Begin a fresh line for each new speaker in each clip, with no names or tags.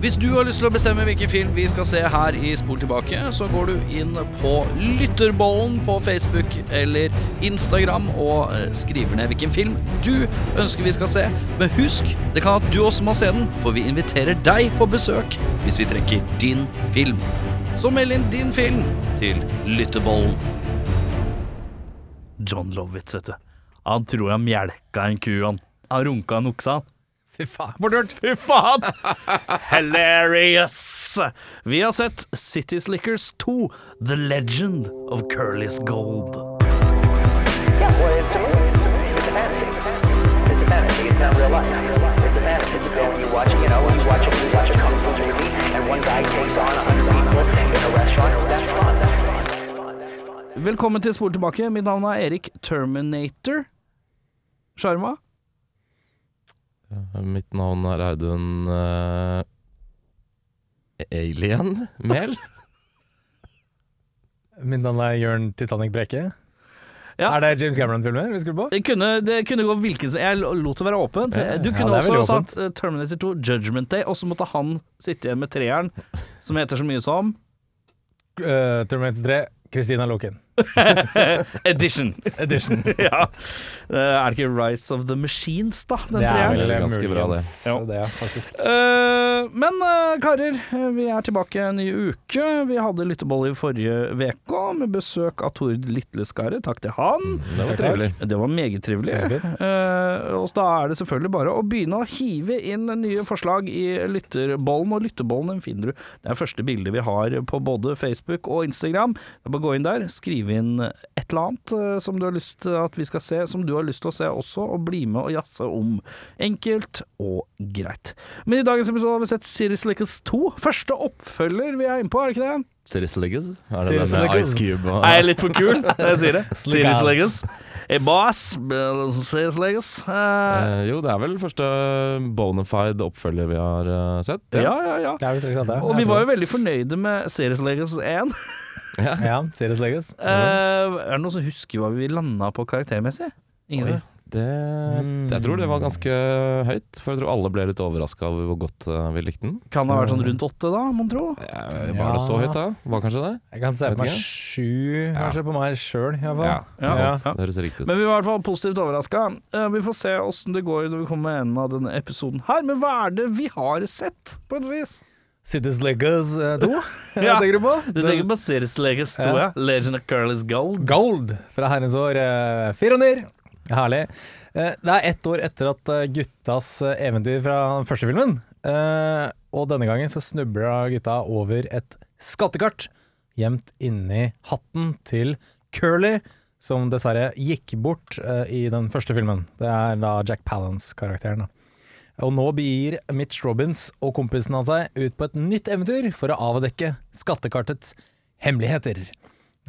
Hvis du har lyst til å bestemme hvilken film vi skal se her i Spol tilbake, så går du inn på Lytterbollen på Facebook eller Instagram og eh, skriver ned hvilken film du ønsker vi skal se. Men husk, det kan at du også må se den, for vi inviterer deg på besøk hvis vi trekker din film. Så meld inn din film til Lytterbollen.
John Lovitz, vet du. Han tror han mjelka en ku, han. Han runka en okse, han.
Fy faen.
Fordørt, fy faen! Hilarious! Vi har sett City Slickers 2, The Legend of Curly's Gold.
Yeah, well, it's a movie. It's a fantasy. It's a fantasy. It's not real life. It's a fantasy. You go and you watch, you know, you watch a, you watch a kung fu movie, and one guy takes on a hundred people in a restaurant. That's fun. That's fun. That's fun.
Velkommen til Spor tilbake. Mitt navn er Erik Terminator. Sjarma?
Mitt navn er Audun eh, Alien Mel.
Mitt navn er Jørn Titanic Breke.
Ja.
Er det James Cameron-filmer vi skulle på?
Det kunne, det kunne gå hvilken som Jeg lot det være åpent.
Ja,
Du
ja,
kunne
det er
også
veldig
satt eh, Terminator 2, Judgment Day, og så måtte han sitte igjen med treeren, som heter så mye som
Eh, Terminator 3, Christina Loken.
Edition.
Edition.
ja. Eh, Er det ikke Rise of the Machines, da? Den treeren?
vel- ganske bra, det.
Ja.
Ja.
det ja, faktisk.
Eh, men eh, karer, eh, vi er tilbake en ny uke. Vi hadde lyttebolle i forrige uke, med besøk av Tord Litleskaret. Takk til han.
Det var trivelig.
Det var meget trivelig.
Det var fint.
Eh, og da er det selvfølgelig bare å begynne å hive inn nye forslag i lytterbollen, og lytterbollen den finner du. Det er første bildet vi har på både Facebook og Instagram. Det er bare å gå inn der, skrive inn et eller annet eh, som du har lyst til at vi skal se, som du har lyst til å se også, og bli med og jazze om. Enkelt og greit. Men i dagens episode har vi sett Series Lickers 2. Første oppfølger vi er inne på, er det ikke det?
Serious Leggers? Er det
Serious
den med
Leggers.
Ice Cube og
Er jeg litt for kul når jeg sier det?
Slick ass.
Serious Leggers. Hey boss, Serious Leggers. Eh,
Eh, Jo, det er vel første bonafide oppfølger vi har eh, sett.
Ja, ja, ja.
Det er vel straks at det.
Og vi var jo veldig fornøyde med Series Legends 1.
Ja, Serious Legas.
Eh, er det noen som husker hva vi landa på karaktermessig? Ingen
Oi,
som?
det, jeg tror det var ganske høyt, for jeg tror alle ble litt overraska over hvor godt eh, vi likte den.
Kan det ha vært sånn rundt åtte, da, mon tro?
Eh,
Ja.
Var det så høyt da? Var kanskje det?
Jeg kan se
Vet
på meg
ikke.
sju, kanskje, på meg sjøl iallfall.
Ja,
Ja.
ja.
Ja.
Det Sånn høres riktig ut.
Men vi var i hvert fall positivt overraska. vi får se åssen det går når vi kommer med enden av denne episoden her. Men hva er det vi har sett, på et vis?
Cities Legas 2,
Ja.
eh, tenker du på?
Du tenker på Series Legends 2, ja.
Ja.
Legend of Curly's Gold.
Gold fra herrens år eh, 94. Herlig. Eh, det er ett år etter at eh, guttas eh, eventyr fra den første filmen. Eh, og denne gangen så snubler da gutta over et skattekart gjemt inni hatten til Curly, som dessverre gikk bort eh, i den første filmen. Det er da Jack Palance-karakteren. da. Og nå begir Mitch Robins og kompisen hans seg ut på et nytt eventyr for å avdekke skattekartets hemmeligheter.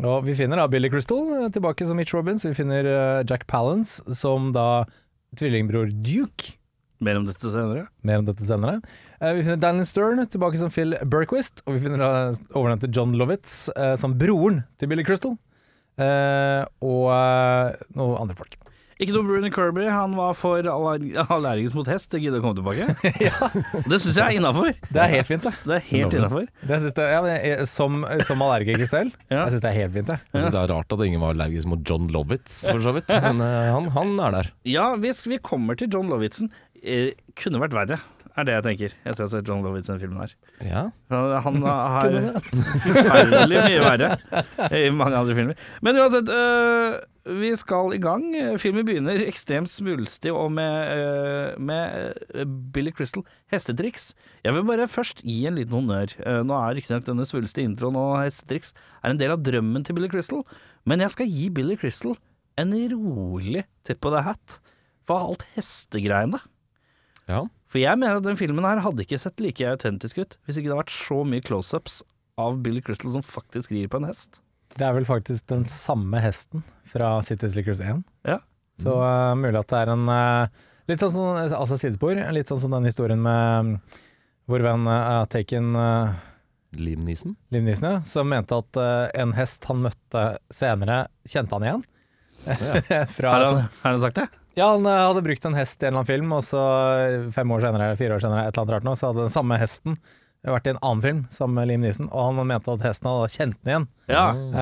Og vi finner da Billy Crystal eh, tilbake som Mitch Robins. Vi finner eh, Jack Palance som da tvillingbror Duke.
Mer om dette senere.
Mer om dette senere. Eh, Vi finner Daniel Stern tilbake som Phil Berquist. Og vi finner da overnevnte John Lovitz eh, som broren til Billy Crystal. Eh, og eh, noen andre folk.
Ikke noe Bruni Kirby, han var for aller allergisk mot hest. Det gidder å komme tilbake. Det syns jeg er innafor.
Det er helt fint, det.
Det er helt innafor.
det, synes jeg, ja, men jeg som, som allergiker selv,
Ja.
jeg syns det er helt fint, det.
Jeg synes det er rart at ingen var allergisk mot John Lovitz, for så vidt. Men eh, han, han er der.
Ja, hvis vi kommer til John Lovitzen eh, Kunne vært verre, er det jeg tenker etter å ha sett John Lovitzen-filmen her.
Ja.
Han- Han har forferdelig mye verre i mange andre filmer. Men uansett, øh, vi skal i gang. Filmen begynner ekstremt svulstig og med, øh, med øh, Billy Crystal hestetriks. Jeg vil bare først gi en liten honnør. Eh, Nå er riktignok denne svulstige introen og hestetriks er en del av drømmen til Billy Crystal, men jeg skal gi Billy Crystal en rolig tipp of the hat for alt hestegreiene.
ja.
For jeg mener at den filmen her hadde ikke sett like autentisk ut hvis ikke det hadde vært så mye close-ups av Billy Crystal som faktisk rir på en hest.
Det er vel faktisk den samme hesten fra City Slickers 1.
Ja. Mm.
Så eh, mulig at det er en eh, Litt sånn som altså sidespor. Litt sånn som den historien med mm, vår venn uh, Taken eh,
Liam Neeson.
Liv Nisen, ja, som mente at eh, en hest han møtte senere, kjente han igjen. fra,
Har han, har han sagt det?
Ja, han eh, hadde brukt en hest i en eller annen film, og så eh, fem år senere, eller fire år senere, et eller annet rart nå, så hadde den samme hesten vært i en annen film sammen med Liam Neeson, og han mente at hesten hadde kjent den igjen.
Ja,
Eh,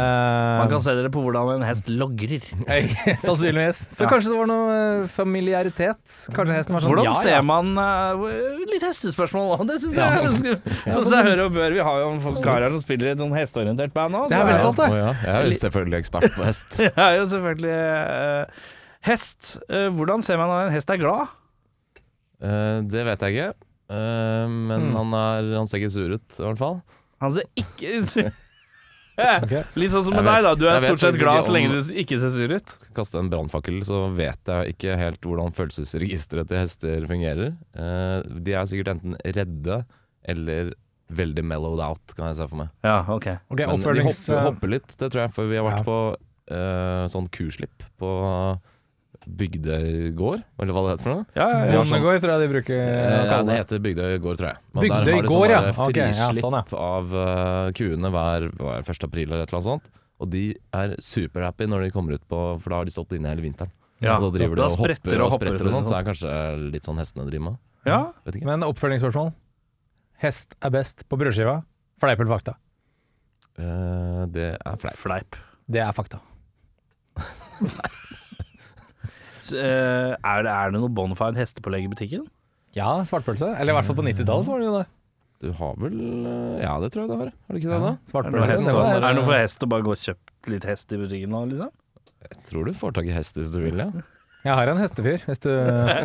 Mm. Man kan se dere på hvordan en hest logrer.
Sannsynligvis. Så kanskje det var noe eh, familiaritet? Kanskje hesten var sånn
Hvordan
ja, ja.
ser man eh, Litt hestespørsmål òg, det syns jeg er ganske- Som seg hører og bør. Vi har jo folk karer som spiller i et sånn hesteorientert band òg.
Det er veldig sant, det.
Å ja, jeg er jo selvfølgelig ekspert på hest.
Det er jo selvfølgelig eh, Hest. Eh, hvordan ser man når en hest er glad?
Eh, det vet jeg ikke. Eh, men han, er, han ser ikke sur ut, i hvert fall.
Han ser ikke Litt sånn som med
Jeg vet-
deg, da. Du er
jeg vet
stort sett
faktisk
glad
ikke
så lenge
om-
du ikke ser sur ut.
Skal kaste en brannfakkel, så vet jeg ikke helt hvordan følelsesregisteret til hester fungerer. Eh, de er sikkert enten redde eller veldig mellowed out, kan jeg se for meg.
Ja, ok.
Ok,
Men de
oppfølgings...
hopper, hopper litt, det tror jeg, for vi har vært
Ja.
på eh, sånn kuslipp på Bygdøy gård, eller hva det heter for noe.
Ja, ja,
eh,
ja.
Bondegård, tror jeg de bruker å
Eh, ja,
kalle
det
det.
heter Bygdøy gård, tror jeg. Og
Bygdøy
der har de
gård,
sånn
ja. Ok, ja,
frislipp
sånn,
av eh, kuene hver, hver 1. april eller et eller annet sånt. Og de er superhappy når de kommer ut på For da har de stått inne hele vinteren.
Ja,
og da driver de
da
og
spretter
hopper
og
og
hopper
spretter og sånt,
og
så er det kanskje litt sånn hestene driver med.
ja.
Vet ikke.
Men oppfølgingsspørsmål? Hest er best på brødskiva. Fleip eller fakta?
Eh, det er flaut.
Fleip.
Det er fakta.
Så, eh, er, det, er det noe Bonfire hestepålegg i butikken?
Ja, svartpølse. Eller i hvert fall på 90-tallet så var det jo det.
Du har vel eh, Ja, det tror jeg du har. Har du ikke det, da?
Er det noe,
Svartpølse.
hest,
det var
er sånn- det
hest.
noe for hest å bare gå og kjøpe litt hest i butikken nå, liksom?
Jeg tror du får tak i hest hvis du vil, ja.
Jeg har en hestefyr, hvis du ja,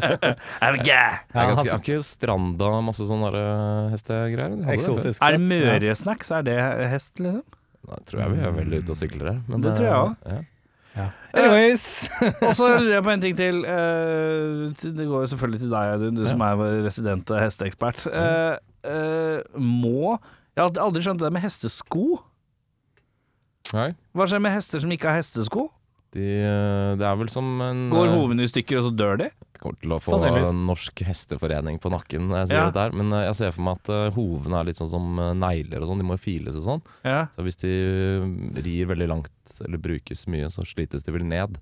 Er det, gæ?
Jeg er
han-
ganske, har ikke Stranda masse sånne der, eh, hestegreier? De hadde det før.
Eksotisk.
er det
sett, ja.
Møre-snacks? Er det hest, liksom?
Nei, tror jeg vi er veldig ute og sykler her. men,
Det
eh,
tror jeg
ja.
Anyways.
Og så lurer jeg på en ting til. eh, til- Det går jo selvfølgelig til deg, Audun, du som er vår residente hesteekspert. Eh, eh, Må Jeg har aldri skjønt det med hestesko.
Nei,
Hva skjer med hester som ikke har hestesko?
de, eh, det er vel som en
Går
eh,
hoven i stykker, og så dør de?
Kommer til å få
Sannsynligvis.
en norsk hesteforening på nakken når jeg sier
Ja.
dette her. Men eh, jeg ser for meg at eh, hovene er litt sånn som eh, negler og sånn, de må jo files og sånn.
Ja.
Så hvis de eh, rir veldig langt eller brukes mye, så slites de vel ned,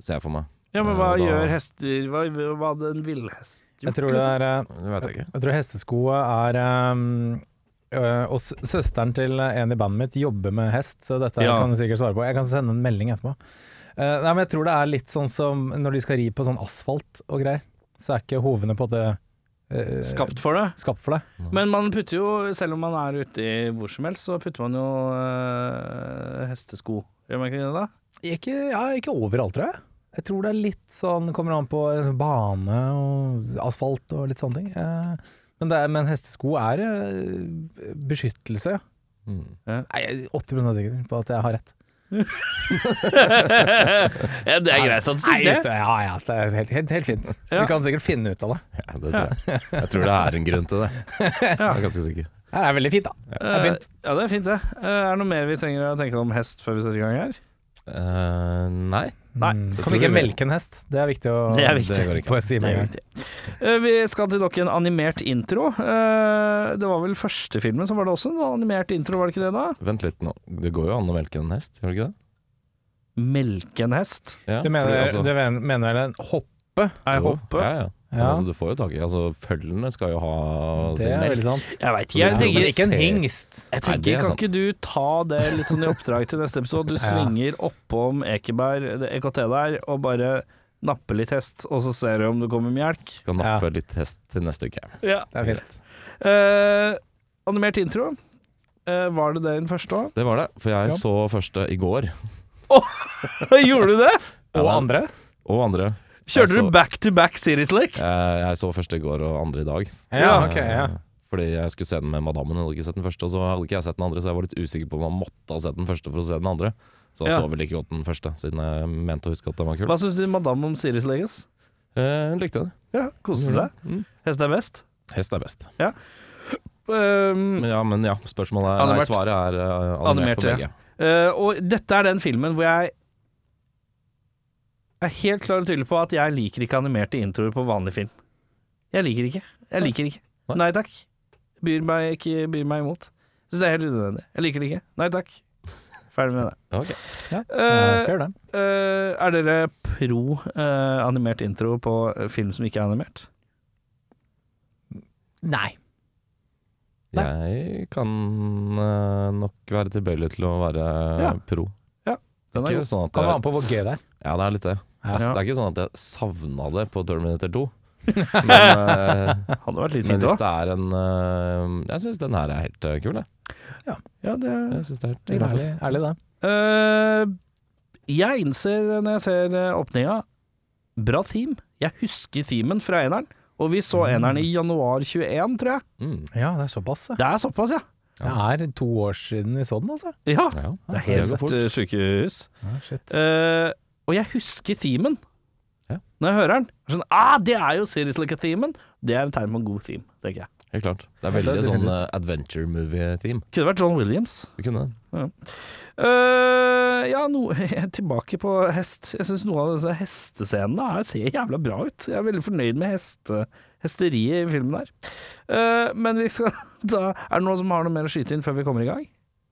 ser jeg for meg.
ja, men hva
Ja, da-
gjør hester Hva, hva hadde en villhest
Eh, Jeg tror det er eh,
Det vet jeg ikke.
Jeg tror hestesko er ehm, øh, Og s- søsteren til en i bandet mitt jobber med hest, så dette
Ja.
kan du sikkert svare på. Jeg kan sende en melding etterpå. Eh, nei, men jeg tror det er litt sånn som når de skal ri på sånn asfalt og greier, så er ikke hovene på det eh,
Skapt for det.
skapt for det.
Men man putter jo, selv om man er ute i hvor som helst, så putter man jo eh, hestesko. Gjør man ikke det da?
Ikke, ja, ikke overalt, tror jeg. Jeg tror det er litt sånn Kommer an på eh, bane og asfalt og litt sånne ting. Eh, men, det er, men hestesko er eh, beskyttelse, ja. Eh,
Mm.
Nei, jeg er 80 sikker på at jeg har rett.
ja, det er grei statistikk,
Nei,
det.
vet du, ja, ja, det er helt, helt, helt fint.
Ja.
Du kan sikkert finne ut av det.
Ja, det tror jeg. Jeg tror det er en grunn til det. Jeg er ganske sikker.
Det er veldig fint, da. Det er fint.
Eh, ja, det er fint, det. Eh, er det noe mer vi trenger å tenke om hest før vi setter i gang her?
Eh, nei.
nei,
Mm.
det
Kan
tror
vi ikke
jeg vi-
melke en hest? Det er viktig å
Det er viktig.
Det går ikke.
På si med en gang.
Eh, vi skal til dere en animert intro. Eh, det var vel første filmen som var det også en sånn animert intro, var det ikke det da?
Vent litt nå. Det går jo an å melke en hest, gjør det ikke det?
Melke en hest?
Ja,
Du mener,
fordi altså-
du men- mener vel en hoppe?
Nei,
Jo,
hoppe?
Ja, ja. Men
Ja.
Altså, du får jo tak i altså, Følgene skal jo ha
Det
sin
er
melk.
veldig sant.
Jeg veit ikke.
Ja,
Jeg
men
tenker,
ikke en
hingst.
jeg
Nei, det
tenker
er
Kan
sant.
ikke du ta det litt sånn i oppdrag til neste episode? Du svinger oppom Ekeberg, det EKT der, og bare napper litt hest, og så ser du om det kommer melk.
Skal nappe litt hest til neste uke.
Ja.
Det er fint.
Eh, animert intro. Eh, var det det i den første òg?
Det var det, for jeg
Ja.
så første i går.
Gjorde du det?
Ja,
Og
da.
andre?
Og andre. Jeg
Kjørte
så-
du back to back series like?
Jeg, jeg så første i går og andre i dag.
Ah,
Ja, ok, ja.
Eh, Fordi jeg skulle se den med madammen, hun hadde ikke sett den første. Og så hadde ikke jeg sett den andre, så jeg var litt usikker på om man måtte ha sett den første for å se den andre. Så jeg
Ja.
så vel like godt den første, siden jeg mente å huske at den var kul.
Hva syns du madame om series leges?
Eh, Hun likte det.
Ja, Koste seg?
Mm.
Hest er best?
Hest er best.
Um,
Men ja, men ja spørsmålet er
Animert.
Nei, svaret er eh, animert,
Animert,
på
ja.
begge.
eh, og dette er den filmen hvor jeg er helt klar og tydelig på at jeg liker ikke animerte introer på vanlig film. Jeg liker ikke. Jeg liker ikke.
Nei.
Nei takk. Byr meg ikke byr meg imot. Syns det er helt unødvendig. Jeg liker det ikke. Nei takk. Ferdig med det.
Ja, ok.
Eh,
Fair, det.
Eh, er dere pro eh, animert intro på eh, film som ikke er animert?
Nei.
Jeg kan eh, nok være tilbøyelig til å være
Ja.
pro.
Den er
Ikke
god.
sånn at
Kan være
jeg,
med på hvor gøy det er.
ja, det er litt det.
Ja.
Altså, Det er ikke sånn at jeg savna det på Terminator 2. Men, eh,
Hadde vært litt
men
fint
hvis
òg.
det er en eh, Jeg syns den her er helt eh, kul, jeg.
Ja, det
jeg synes det er helt
Det er
greit.
ærlig, ærlig det.
Eh, jeg innser når jeg ser eh, åpninga Bra theme. Jeg husker themen fra eneren. Og vi så eneren i januar 21, tror jeg.
Mm.
Ja, det er såpass. ja.
Det er såpass, ja.
Det er to år siden vi så den, altså.
Ja,
Ja,
Det er
går
helt
fort.
eh, sjukehus.
Ja, shit.
Eh, og jeg husker themen
Ja.
når jeg hører den. Jeg er Sånn, ah, det er jo Serious Like-themen! Det er et tegn på en god theme, tenker jeg.
Helt klart. Det er
Ja, det er
veldig sånn
definitivt.
eh, adventure movie-theme.
Kunne vært John Williams.
Du kunne den.
Eh, ja, no, tilbake på hest. Jeg syns noen av disse hestescenene er, ser jævla bra ut. Jeg er veldig fornøyd med heste, hesteriet i filmen der. Eh, men vi skal da Er det noen som har noe mer å skyte inn før vi kommer i gang?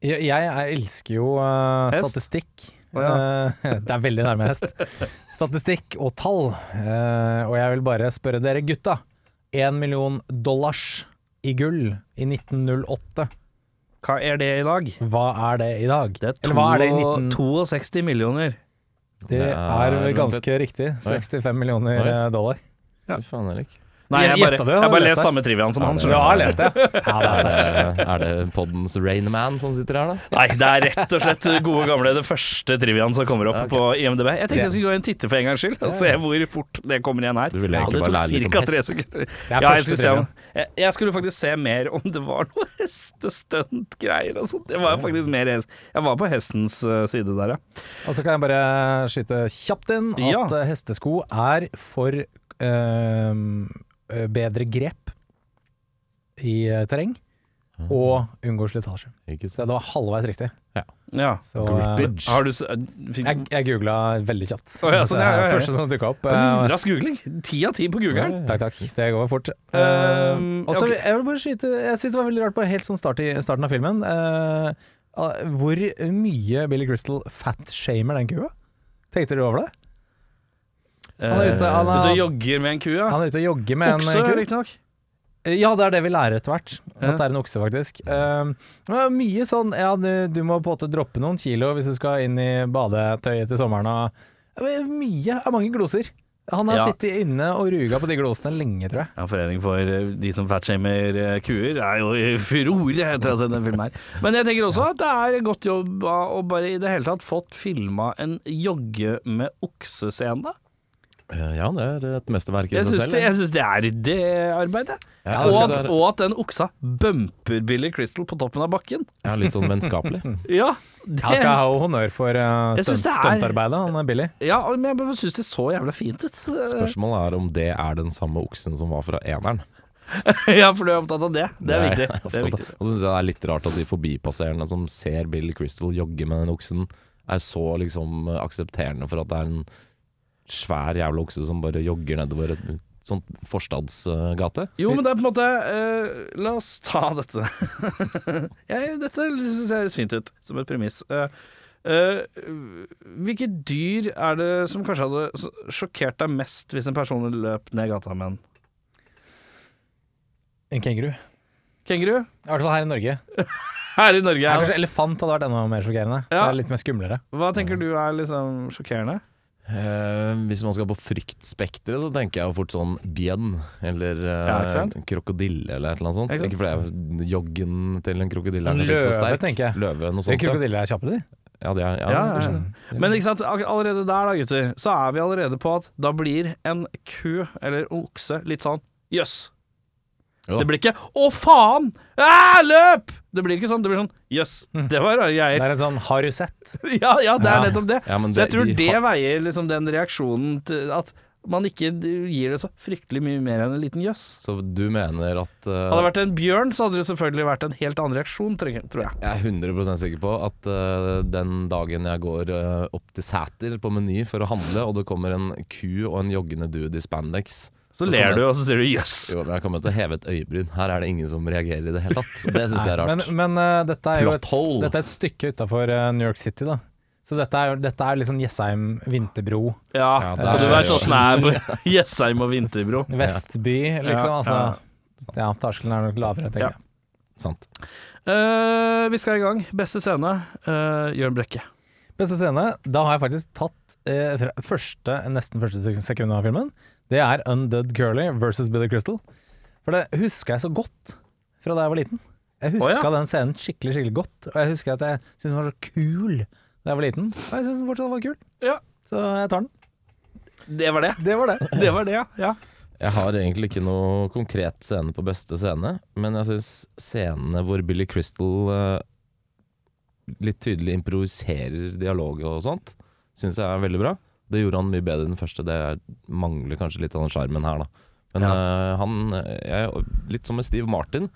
Jeg, jeg er- elsker jo eh,
Hest?
statistikk.
Å, ja.
Eh, det er veldig nærme hest. Statistikk og tall. Eh, og jeg vil bare spørre dere gutta. Én million dollars i gull i 1908.
Hva er det i dag?
Hva er det i dag?
Det er, to,
Eller hva er det i 19...
62 millioner.
Det
Det er
er ganske
fett.
riktig. 65 millioner eh, dollar.
Ja.
Fy faen, Erik.
Nei, jeg
Jeg
bare,
gjetta det,
jeg
har
bare
lest
leser
det.
samme triviaen som
Ja,
han.
det
skjønner
Ja,
du.
jeg har lest det. Ja, det er
Er
sterkt.
det, er det poddens Rainman som sitter her, da?
Nei, det er rett og slett gode gamle det første triviaen som kommer opp
Ok.
på IMDb. Jeg tenkte jeg skulle gå inn og titte for en gangs skyld, og se hvor fort det kommer igjen her.
Du ville
Ja,
egentlig
det
bare
tok
lære litt om
cirka
hest.
tre sekunder. Ja,
er første
jeg, skulle se om,
triviaen.
jeg, jeg skulle faktisk se mer om det var noe hestestuntgreier og sånt. Det var faktisk mer hest. Jeg var på hestens eh, side der, ja.
Og så kan jeg bare skyte kjapt inn at
Ja.
eh, hestesko er for ehm, eh, bedre grep i eh, terreng, og unngå slitasje.
Ikke
Så
sant?
det var halveis riktig.
ja.
Så, eh,
Gripage.
Har du s- fikk
jeg, jeg googla veldig kjapt.
Å, ja, sånn,
Så det
ja,
er
ja, ja.
Første som dukka opp. eh,
Rask googling. Ti av ti på Google.
Takk, takk. Det går fort.
Um,
Eh, også,
ok.
Jeg vil bare skyte Jeg syns det var veldig rart på helt sånn start i starten av filmen eh, ah, hvor mye Billy Crystal fatshamer den kua. Tenkte dere over det? Han er ute, han
Eh, Ute og
er,
jogger med en ku, ja.
han er ute og jogger med
Okse,
en ku.
riktignok.
Ja, det er det vi lærer etter hvert. At
Ja.
det er en okse, faktisk. Eh, det var mye sånn Ja, du, du må på en måte droppe noen kilo hvis du skal inn i badetøyet til sommeren og Det var Mye er mange gloser. Han har
Ja.
sittet inne og ruga på de glosene lenge, tror jeg.
Ja, Foreningen for eh, de som fatshamer eh, kuer er jo i furore etter å ha sett den filmen her. Men jeg tenker også at det er godt jobba å bare i det hele tatt fått filma en jogge med oksescene.
Eh, Ja, det er et mesterverk i
Jeg
seg
syns
selv.
det,
ja.
jeg synes det er det arbeidet.
Ja, jeg
og,
synes
at,
det er-
og at den oksa bumper Billy Crystal på toppen av bakken.
Ja, litt sånn vennskapelig.
Ja, det,
Han skal ha honnør for uh,
Jeg synes
stunt,
det er-
stuntarbeidet, han er Billy.
ja men jeg bare syns det så jævla fint ut.
Spørsmålet er om det er den samme oksen som var fra eneren.
Ja, for du er opptatt av det. Det er viktig. Det er
Og
viktig.
så syns jeg det er litt rart at de forbipasserende som ser Bill Crystal jogge med den oksen, er så liksom aksepterende for at det er en svær jævla okse som bare jogger nedover et sånt forstadsgate.
Jo, men det er på en måte eh, La oss ta dette. jeg, dette syns jeg høres fint ut, som et premiss. Eh, eh, hvilke dyr er det som kanskje hadde s- sjokkert deg mest hvis en person løp ned gata med en
En kenguru.
kenguru?
I hvert fall her i Norge.
Her i Norge.
Her, kanskje elefant hadde vært enda mer sjokkerende. Det
Ja.
er litt mer skumlere.
Hva tenker du er liksom sjokkerende?
Eh, hvis man skal på fryktspekteret, så tenker jeg jo fort sånn bjørn eller eh,
Ja, ikke sant?
krokodille eller et eller annet sånt.
Ikke sant?
Ikke fordi jeg- joggen til en krokodille er
En
kanskje ikke
løve,
så sterk.
tenker jeg.
Løve, noe sånt. ja.
Krokodiller er kjappe, de. Mm.
Ja, det er, ja,
Ja, ja,
kanskje.
ja. Men ikke sant, ak- allerede der da, gutter, så er vi allerede på at da blir en ku eller okse litt sånn jøss.
Jo da.
Det blir ikke 'å faen', Æ, løp! Det blir ikke sånn. Det blir sånn jøss, det var rare
Det
greier.
er en sånn har du sett?
Ja, ja, det er
Ja.
nettopp det.
Mm. Ja, men
Så jeg
det-
tror
de
det
har-
veier liksom den reaksjonen til at man ikke gir det så fryktelig mye mer enn en liten jøss.
Så du mener at eh,
Hadde det vært en bjørn, så hadde det selvfølgelig vært en helt annen reaksjon, tror jeg- tror jeg.
Jeg er 100 sikker på at eh, den dagen jeg går eh, opp til Sæter på Meny for å handle, og det kommer en ku og en joggende dude i spandex
Så ler
kommer
du,
jeg,
og så sier du 'jøss'.
Jo, men jeg kommer til å heve et øyebryn. Her er det ingen som reagerer i det hele tatt. Det syns jeg er
Men,
rart.
men eh, dette er jo
Plot
et,
hole.
dette er et stykke utafor New York City, da. Så dette er, jo- dette er liksom Jessheim, Vinterbro,
Ja,
Ja,
der
og du
er
veit
det jo-
åssen det er på Jessheim og Vinterbro.
Vestby, liksom.
Ja,
altså, ja, terskelen er nok lavere, tenker
Ja.
jeg.
Sant.
Eh, vi skal i gang. Beste scene, eh, Jørn Brekke.
Beste scene, da har jeg faktisk tatt eh, fra første, nesten første sek- sekund av filmen. Det er Undead Curly versus Billy Crystal. For det husker jeg så godt fra da jeg var liten. Jeg huska den scenen skikkelig skikkelig godt, og jeg husker at jeg syntes den var så kul da jeg var liten. Og jeg syns den fortsatt var kul,
Ja.
så jeg tar den.
Det var det.
Det var det.
Det var det, ja. ja.
Jeg har egentlig ikke noe konkret scene på beste scene, men jeg syns scenene hvor Billy Crystal eh, litt tydelig improviserer dialoget og sånt, syns jeg er veldig bra. Det gjorde han mye bedre enn den første. Det er- mangler kanskje litt av den sjarmen her, da. Men eh, han eh, jeg, Litt som med Steve Martin,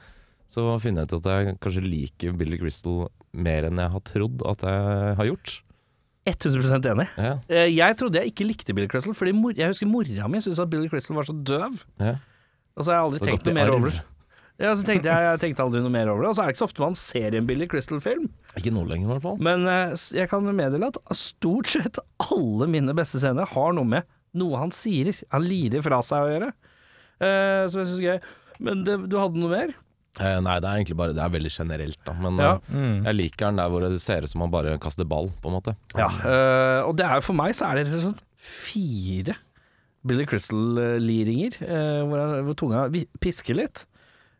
så finner jeg ut at jeg kanskje liker Billy Crystal mer enn jeg har trodd at jeg har gjort.
100 enig.
Ja,
Eh, jeg trodde jeg ikke likte Billy Crystal, fordi mor jeg husker mora mi syntes at Billy Crystal var så døv.
ja.
Og så har jeg aldri
Det har
tenkt
gått i
noe mer
arv.
over det. Ja, så tenkte jeg, jeg tenkte aldri noe mer over det. Og så er det ikke så ofte man ser en Billy Crystal-film.
Ikke nå lenger, i hvert fall.
Men eh, s- jeg kan meddele at stort sett alle mine beste scener har noe med noe han sier. Han lirer fra seg å gjøre. Eh, som jeg syns er gøy. Men det, du hadde noe mer?
Eh, nei, det er egentlig bare Det er veldig generelt, da. Men
Ja. Mm.
eh, jeg liker den der hvor det ser ut som han bare kaster ball, på en måte.
Ja. eh, og det er jo for meg så er det rett og slett fire Billy Crystal-liringer, eh, hvor, han- hvor tunga vi- pisker litt.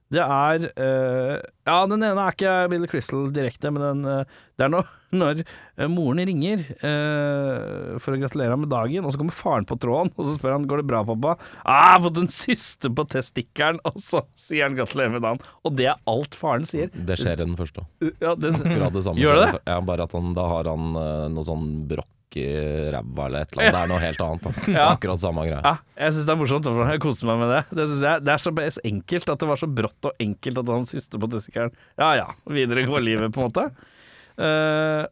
Det er eh, Ja, den ene er ikke Billy Crystal direkte, men den, eh, det er når, når eh, moren ringer eh, for å gratulere ham med dagen, og så kommer faren på tråden, og så spør han går det bra, pappa. Ah, 'Jeg har fått en syste på testikkelen', og så sier han 'gratulerer med dagen'. Og det er alt faren sier.
Det skjer i den første.
Ja, det,
Akkurat det samme.
Mm. Gjør det det?
Ja, bare at han, da har han eh, noe sånn brokk i ræva eller et eller annet. Det er noe helt annet. Da. Det er
Ja.
akkurat samme greia.
Ja, jeg syns det er morsomt. og Jeg koste meg med det. Det, synes jeg, det er så bes- enkelt at det var så brått og enkelt at han syste på testikeren. Ja ja, videre går livet, på en måte. Eh,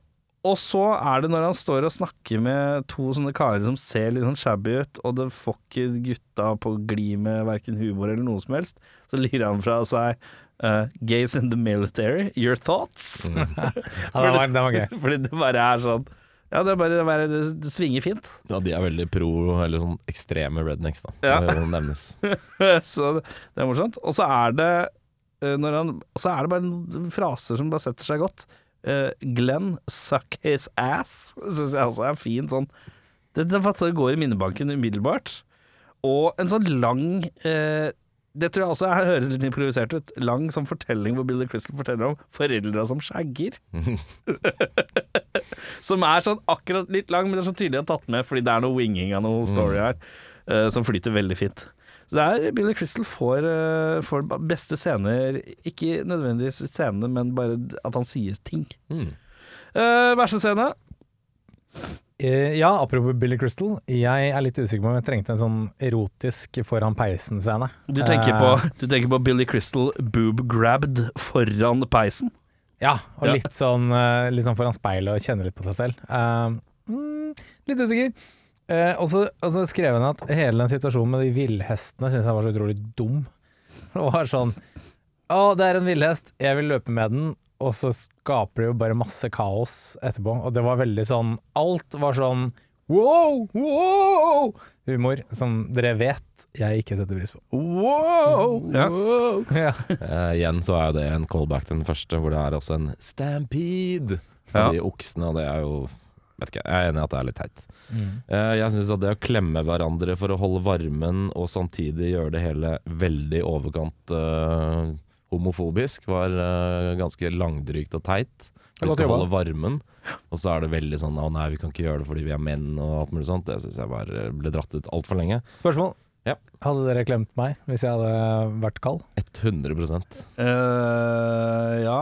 og så er det når han står og snakker med to sånne karer som ser litt sånn shabby ut, og det får ikke gutta på glid med verken humor eller noe som helst, så lirer han fra seg eh, 'Gays in the military, your thoughts'.
Ja, den var, den var gøy.
Fordi det bare er sånn Ja, det, er bare, det, er bare, det, det svinger fint.
Ja, de er veldig pro, eller sånn ekstreme rednecks, da.
Ja.
Det nevnes.
så det det er morsomt. Og så er det eh, når han, så er det bare noen fraser som bare setter seg godt. Eh, Glenn suck his ass syns jeg også er fin sånn. Det, det, det går i minnebanken umiddelbart. Og en sånn lang eh, Det tror jeg også er, høres litt improvisert ut. Lang sånn fortelling hvor Billy Crystal forteller om foreldra som skjegger. som er sånn akkurat litt lang, men det er så tydelig jeg har tatt med fordi det er noe winging av noe story her eh, som flyter veldig fint. Så det er Billy Crystal får, eh, får ba- beste scener, ikke nødvendigvis scenene, men bare at han sier ting.
Mm.
Uh, verste scene?
Eh, ja, apropos Billy Crystal. Jeg er litt usikker på om jeg trengte en sånn erotisk foran peisen-scene.
Du tenker,
Eh,
på, du tenker på Billy Crystal boob-grabbed foran peisen?
Ja, og
Ja.
litt sånn, eh, litt sånn foran speilet og kjenne litt på seg selv. Eh, mm, litt usikker. Eh, og så og så skrev han at hele den situasjonen med de villhestene syns jeg var så utrolig dum. Det var sånn Å, det er en villhest, jeg vil løpe med den. Og så skaper det jo bare masse kaos etterpå. Og det var veldig sånn Alt var sånn wow, wow! Humor som dere vet jeg ikke setter pris på.
Wow! Ja.
Ja.
Eh, igjen så er jo det en callback til den første, hvor det er også en stampede.
Ja.
av De oksene, og det er jo Vet ikke, jeg er enig i at det er litt teit.
Mm.
Eh, jeg syns at det å klemme hverandre for å holde varmen, og samtidig gjøre det hele veldig i overkant eh, homofobisk, var eh, ganske langdrygt og teit. Vi
Godt
skal
jobba.
holde varmen, og så er det veldig sånn 'Å nei, vi kan ikke gjøre det fordi vi er menn', og alt mulig sånt. Det syns jeg var, eh, ble dratt ut altfor lenge.
Spørsmål?
Ja.
Hadde dere klemt meg hvis jeg hadde vært kald?
100
Eh, ja.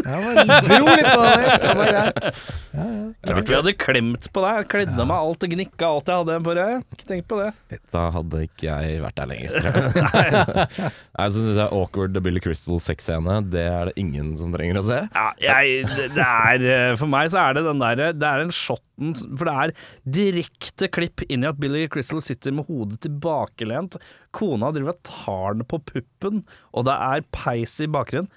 Jeg bare dro litt på det. det var greit.
Klart vi hadde klemt på deg. Kledde meg alt og gnikka alt jeg hadde på deg. Ikke tenk på det.
Da hadde ikke jeg vært der lenger, tror jeg. Nei, så syns jeg awkward Billy Crystal-sexscene, det er det ingen som trenger å se.
Ja, jeg, det, det er, eh, for meg så er det den der eh, Det er den shotten For det er direkte klipp inn i at Billy Crystal sitter med hodet tilbakelent. Kona driver og tar den på puppen, og det er peis i bakgrunnen.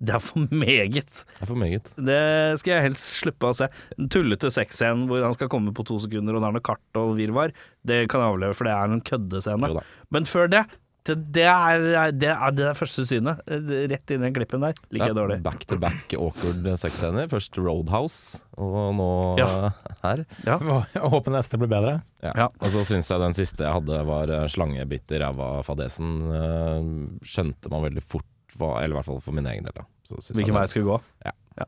Det er for meget.
Det er for meget.
Det skal jeg helst slippe å se. Den tullete sexscenen hvor han skal komme på to sekunder og det er noe kart og virvar, det kan jeg avleve, for det er en køddescene.
Jo da.
Men før det det, det, er, det er det er første synet. Det- Rett inn i den klippen der.
Det
Liker jeg
er
dårlig.
Back to back awkward sexscener. Først Roadhouse, og nå
Ja.
eh, her.
Jeg håper neste blir bedre.
Ja.
Ja.
Og så syns jeg den siste jeg hadde var eh, slangebitt i ræva-fadesen. eh, Skjønte man veldig fort, hva, eller i hvert fall for min egen del. Da. Så syns jeg
Hvilken
det-
vei jeg skulle gå.
Ja.
Ja.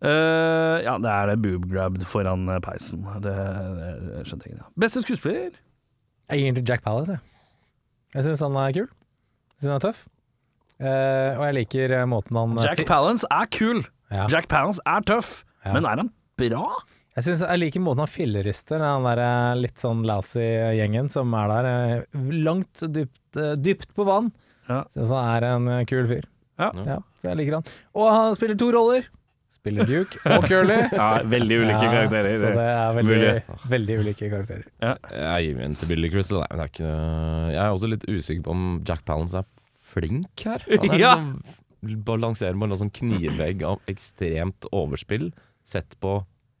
Eh, ja, det er det boobgrabbed foran eh, peisen. Det, det skjønte jeg ikke. ja. Beste skuespiller?
Jeg gir den til Jack Palace, jeg. Jeg syns han er kul. Jeg syns han er tøff. Eh, og jeg liker eh, måten han
Jack Palance er kul.
Ja.
Jack Palance er tøff.
Ja.
Men er han bra?
Jeg synes jeg liker måten han fillerister den der eh, litt sånn lousy gjengen som er der. eh, Langt dypt, eh, dypt på vann.
Ja.
Syns han er en eh, kul fyr.
Ja.
ja. Så jeg liker han. Og han spiller to roller. Spiller Duke og Curly.
veldig
Ja, Så det er veldig, veldig ulike karakterer.
Jeg gir min til Billy Crystal. Nei, men det er ikke, noe- jeg er også litt usikker på om Jack Palance er flink her. Han er
Ja.
liksom, balanserer på en sånn knivvegg av ekstremt overspill. Sett på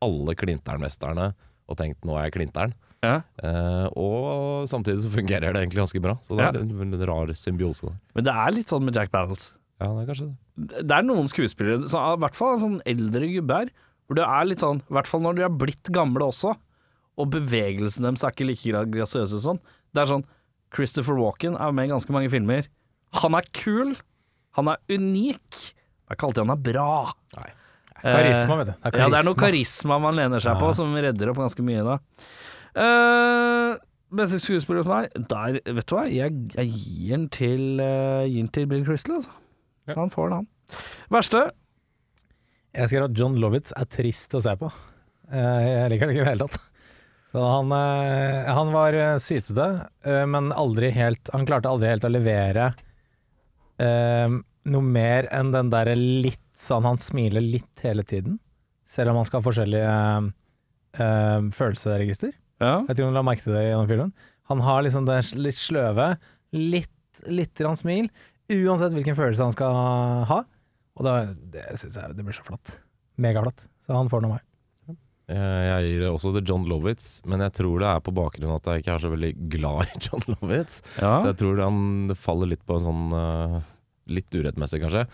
alle klinternmesterne og tenkt 'nå er jeg klinteren'.
Ja.
Eh, og samtidig så fungerer det egentlig ganske bra. Så det er
Ja.
en, en rar symbiose der.
Men det er litt sånn med Jack Palance.
Ja, det er kanskje det.
Det er noen skuespillere, så, i hvert fall en sånn eldre gubbe her, hvor det er litt sånn, i hvert fall når de er blitt gamle også, og bevegelsen deres er ikke like gra- grasiøse og sånn. Det er sånn Christopher Walken er med i ganske mange filmer. Han er kul. Han er unik. Jeg kaller alltid han er bra. Eh,
Karisma, vet du. Det er
Ja, det er noe
karisma.
karisma man lener seg på, som redder opp ganske mye da. Eh, beste skuespiller hos meg Der, vet du hva, jeg, jeg gir den til, eh, gir den til Bill Crystal, altså. Han får den, han. Verste?
Jeg skrev at John Lovitz er trist å se på. Eh, Jeg liker det ikke i det hele tatt. Så han, eh, han var eh, sytete, eh, men aldri helt Han klarte aldri helt å levere eh, noe mer enn den derre litt sånn Han smiler litt hele tiden, selv om han skal ha forskjellige eh, eh, følelsesregister.
Ja.
Jeg tror hun la merke til det gjennom filmen. Han har liksom det litt sløve, litt, litt grann smil, uansett hvilken følelse han skal ha. Og da, det syns jeg det blir så flott. Megaflott. Så han får den av meg.
Eh, Jeg gir det også til John Lovitz, men jeg tror det er på bakgrunn av at jeg ikke er så veldig glad i John Lovitz. Så jeg tror han, det faller litt på en sånn eh, Litt urettmessig, kanskje.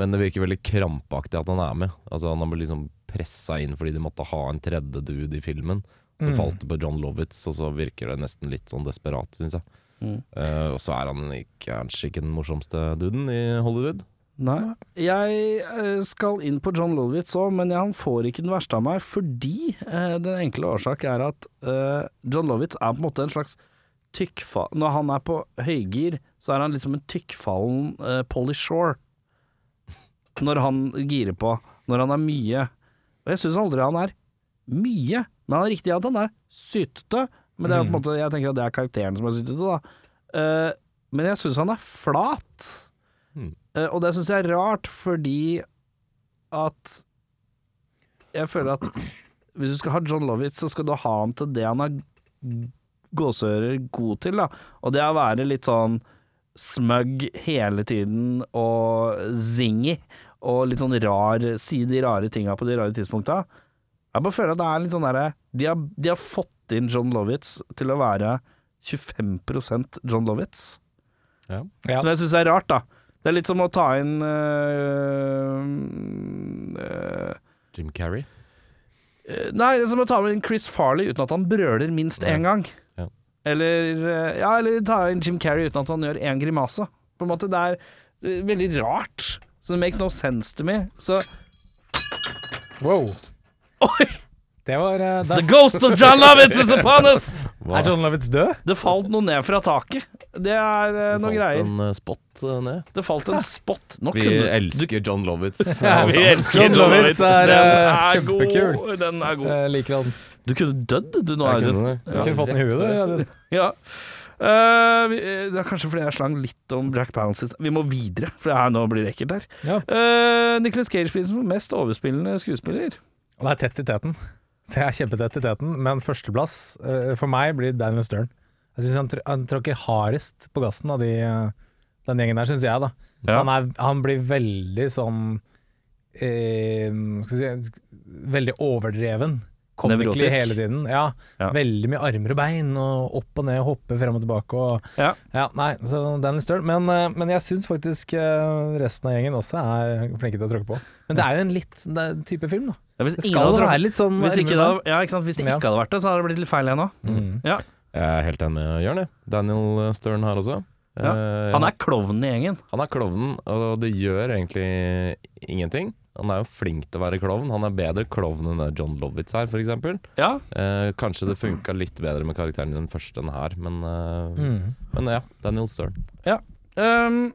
Men det virker veldig krampaktig at han er med. Altså Han ble liksom pressa inn fordi de måtte ha en tredje dude i filmen. Så
Mm.
falt det på John Lovitz, og så virker det nesten litt sånn desperat, syns jeg.
Mm.
Eh, og så er han ikke- kanskje ikke den morsomste duden i Hollywood.
Nei. Jeg eh, skal inn på John Lovitz òg, men han får ikke den verste av meg fordi eh, den enkle årsak er at eh, John Lovitz er på en måte en slags tykkfall... Når han er på høygir, så er han litt som en tykkfallen uh, Polly Shore. Når han girer på. Når han er mye. Og jeg syns aldri han er mye, men han er riktig i at han er sytete. Men det er på en måte, jeg tenker at det er karakteren som er sytete, da. Eh, men jeg syns han er flat. Eh, Og det syns jeg er rart, fordi at Jeg føler at hvis du skal ha John Lovitz, så skal du ha han til det han er gåseører god til, da. Og det er å være litt sånn smug hele tiden og zingy. Og litt sånn rar Si de rare tinga på de rare tidspunkta. Jeg bare føler at det er litt sånn derre de, har- de har fått inn John Lovitz til å være 25 John Lovitz.
Ja.
Som jeg syns er rart, da. Det er litt som å ta inn eh, øh, øh,
Jim Carrey.
øh, Nei, det er som å ta inn Chris Farley uten at han brøler minst
Ja.
én gang.
Ja.
Eller øh, Ja, eller ta inn Jim Carrey uten at han gjør én grimase. På en måte, det er øh, veldig rart. Så det makes no sense to me. Så
Wow.
Oi!
Det var eh,
The
Der
ghost of John Lovitz is upon us!
Hva?
er John Lovitz død.
Det falt noe ned fra taket. Det er øh, noen
Falt
greier.
en eh, spot eh, ned.
Det falt en spot. Nå
Vi
kunne
elsker John Lovitz. altså.
Ja,
Vi elsker
John Lovitz er, eh,
Den er
kjempekul.
god. Den er god.
Jeg liker han.
Du kunne dødd, du nå,
Jeg
Audun.
kunne det.
Du kunne fått den i huet, du. Audun.
Ja. Eh, vi, eh, det er kanskje fordi jeg slang litt om Jack Palance. Vi må videre, for det her nå blir det ekkelt her.
Ja.
Eh, Nicolas Cage-prisen for mest overspillende skuespiller.
Og det er tett i teten. Det er kjempetett i teten, men førsteplass eh, for meg blir Daniel Stern. Jeg syns han, tr han tråkker hardest på gassen av de, eh, den gjengen der, syns jeg, da.
Ja.
Han, er, han blir veldig sånn eh, skal jeg si, Veldig overdreven. Comically
Nevrotisk.
hele tiden. Ja,
Ja.
Veldig mye armer og bein, og opp og ned, og hoppe frem og tilbake. Og,
Ja.
nei, så den er litt støl. Men, eh, men jeg syns faktisk eh, resten av gjengen også er flinke til å tråkke på. Men det er jo en litt det er en type film, da.
Ja, hvis
Det
ingen
skal
hadde
jo
tråkket-
være litt sånn
Hvis, ikke det,
armer og
hadde- ja, ikke sant? Hvis det
Ja.
ikke hadde vært det, så hadde det blitt litt feil ennå.
bein. Mm.
Ja.
Jeg er helt enig med Jørn. jeg. Daniel Stern her også.
Ja,
Eh,
Han er klovnen i gjengen.
han er klovnen, og det gjør egentlig ingenting. Han er jo flink til å være klovn. Han er bedre klovn enn det John Lovitz her, f.eks.
Ja,
Eh, kanskje det funka litt bedre med karakteren i den første enn her, men, eh,
Mm.
men ja. Daniel Stern.
Ehm,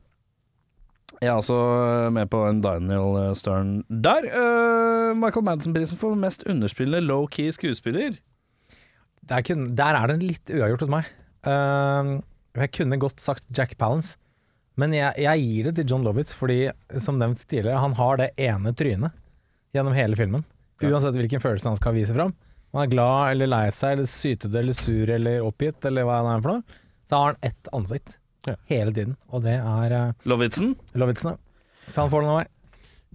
jeg er også med på en Daniel eh, Stern der. Ehm, Michael Madsen-prisen for mest underspillende low-key skuespiller.
Der, kunne, der er det en litt uavgjort hos meg. Ehm, jeg kunne godt sagt Jack Palance, men jeg, jeg gir det til John Lovitz fordi, som nevnt tidligere, han har det ene trynet gjennom hele filmen. Uansett hvilken følelse han skal vise fram. Om han er glad eller lei seg eller sytete eller sur eller oppgitt eller hva han er for noe, så har han ett ansikt
Ja.
hele tiden, og det er uh,
Lovitzen.
Lovitzen. da. Så han får den av meg.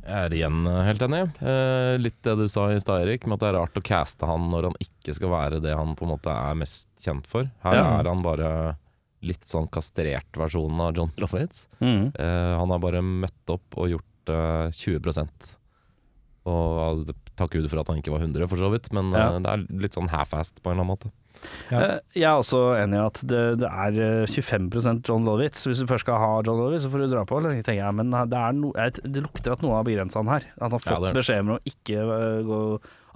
Jeg er igjen eh, helt enig. Eh, litt det du sa i stad, Erik, med at det er rart å caste han når han ikke skal være det han på en måte er mest kjent for. Her
Ja.
er han bare litt sånn kastrert versjonen av John Lovitz.
Mm.
Eh, han har bare møtt opp og gjort eh, 20 Og eh, takk Gud for at han ikke var 100, for så vidt, men eh,
Ja.
det er litt sånn half-assed på en eller annen måte.
Ja.
Eh, Jeg er også enig i at det, det er eh, 25 John Lovitz. Hvis du først skal ha John Lovitz, så får du dra på. eller tenker jeg, Men det, er no, jeg- det lukter at noe har begrensa han her. At han har
Ja,
fått
det er det.
beskjed om å ikke eh, gå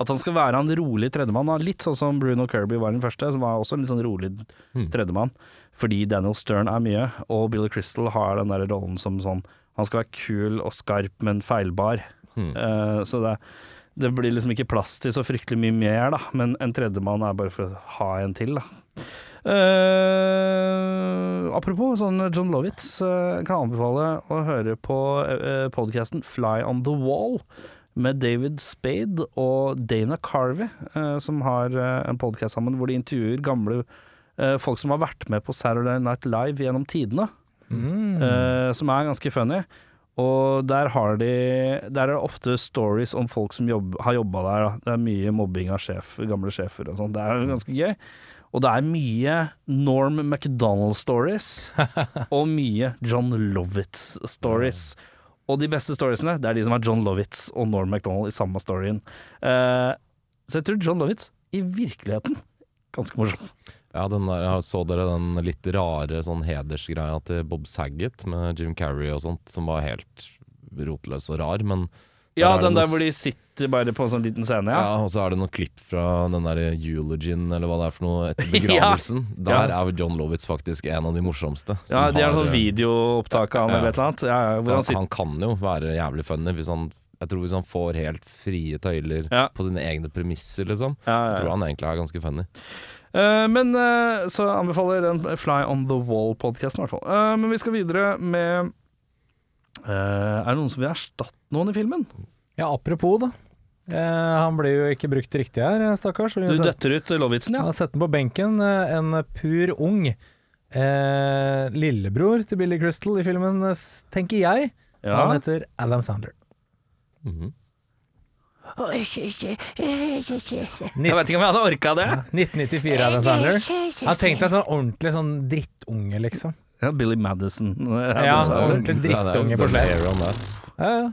At han skal være han rolig tredjemann. da. Litt sånn som Bruno Kirby var den første, som var også en litt sånn rolig
Mm.
tredjemann. Fordi Daniel Stern er mye, og Billy Crystal har den der rollen som sånn Han skal være kul og skarp, men feilbar.
Mm.
Eh, så det, det blir liksom ikke plass til så fryktelig mye mer, da. Men en tredjemann er bare for å ha en til, da. Eh, apropos sånn John Lovitz, eh, kan jeg anbefale å høre på uh, podkasten Fly on the Wall med David Spade og Dana Carvey, eh, som har eh, en podkast sammen hvor de intervjuer gamle eh, folk som har vært med på Saturday Night Live gjennom tidene
Mm.
eh, som er ganske funny. Og der, har de, der er det ofte stories om folk som jobb, har jobba der. Da. Det er mye mobbing av sjef, gamle sjefer og sånn. Det er ganske gøy. Og det er mye Norm MacDonald-stories og mye John Lovitz-stories. Og de beste storiesene, det er de som er John Lovitz og Norm MacDonald i samme storyen. Eh, så jeg tror John Lovitz i virkeligheten ganske morsom.
Ja, den der, jeg Så dere den litt rare sånn hedersgreia til Bob Saget med Jim Carrey og sånt, som var helt rotløs og rar, men
Ja,
er det
den der
noe
hvor de
s-
sitter bare på en sånn liten scene, ja.
Ja, og så er det noen klipp fra den der eulogien, eller hva det er for noe, etter begravelsen.
Ja.
Der er John Lovitz faktisk en av de morsomste. som
Ja, de har sånn
eh,
videoopptak av han
Ja.
eller et eller annet. Ja, ja,
så
hvor han
han,
sitter
han kan jo være jævlig funny hvis han Jeg tror hvis han får helt frie tøyler
Ja.
på sine egne premisser, liksom,
Ja, ja,
så
ja.
tror jeg han egentlig er ganske funny.
Eh, Men eh, så anbefaler jeg den Fly on the Wall-podkasten, i hvert fall. Eh, men vi skal videre med eh, Er det noen som vil erstatte noen i filmen?
Ja, apropos, da. Eh, han blir jo ikke brukt riktig her, eh, stakkars.
Du døtter ut Lovitzen,
Han
ja.
har sett den på benken. eh, En pur ung eh, lillebror til Billy Crystal i filmen, eh, s- tenker jeg. Han
ja.
heter Adam Sandler.
Mhm.
Jeg vet ikke om jeg hadde orka det.
1994 Adam Sandler. Han tenkte en sånn ordentlig sånn drittunge, liksom.
Ja, Billy Madison.
Ja,
Det er jo-
ordentlig
det er- det er jo
drittunge på
den
slep.
eraen der.
Ja, ja.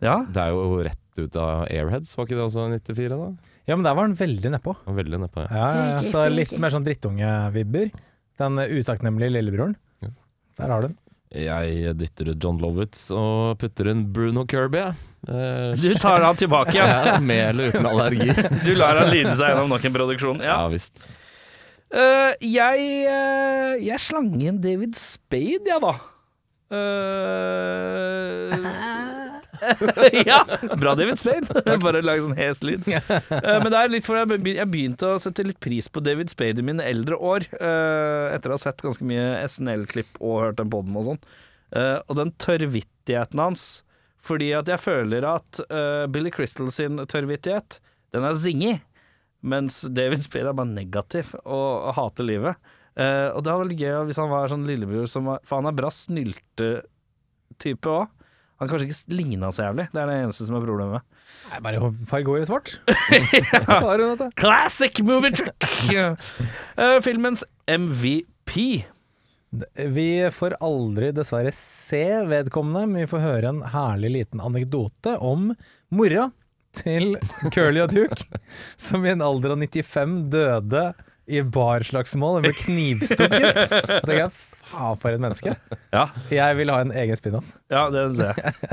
ja.
Det er jo rett ut av Airheads, var ikke det også 94? da?
ja, men der var han veldig nedpå.
Han var Veldig nedpå. Ja.
Ja, ja, ja. Så litt mer sånn drittungevibber. Den eh, utakknemlige lillebroren.
Ja.
Der har du den.
Jeg dytter ut John Lovitz og putter inn Bruno Kirby. jeg. Eh,
Du tar han tilbake, ja.
ja, med eller uten allergi.
Du lar han lide seg gjennom nok en produksjon. Ja.
Ja visst.
Eh, jeg, eh, jeg slang inn David Spade, jeg, ja, da. Eh, ja, bra David Spade. Bare lag sånn hes lyd. Eh, men det er litt for jeg begy- jeg begynte å sette litt pris på David Spade i mine eldre år, eh, etter å ha sett ganske mye SNL-klipp og hørt den podden og sånn. Eh, og den tørrvittigheten hans. Fordi at jeg føler at eh, Billy Crystal sin tørrvittighet, den er zingy. Mens David Spade er bare negativ og, og hater livet. Eh, og det hadde vært gøy hvis han var sånn lillebror som var For han er bra snylte type òg. Han kanskje ikke ligna så jævlig, det er det eneste som er problemet.
Nei, bare farg håret svart. Så har hun dette.
Classic movie trick! Eh, filmens MVP.
Vi får aldri dessverre se vedkommende, men vi får høre en herlig liten anekdote om mora til Curly og Duke, som i en alder av 95 døde i barslagsmål og ble knivstukket. Jeg tenker, faen for et menneske.
Ja,
Jeg vil ha en egen spin-off.
ja det er det.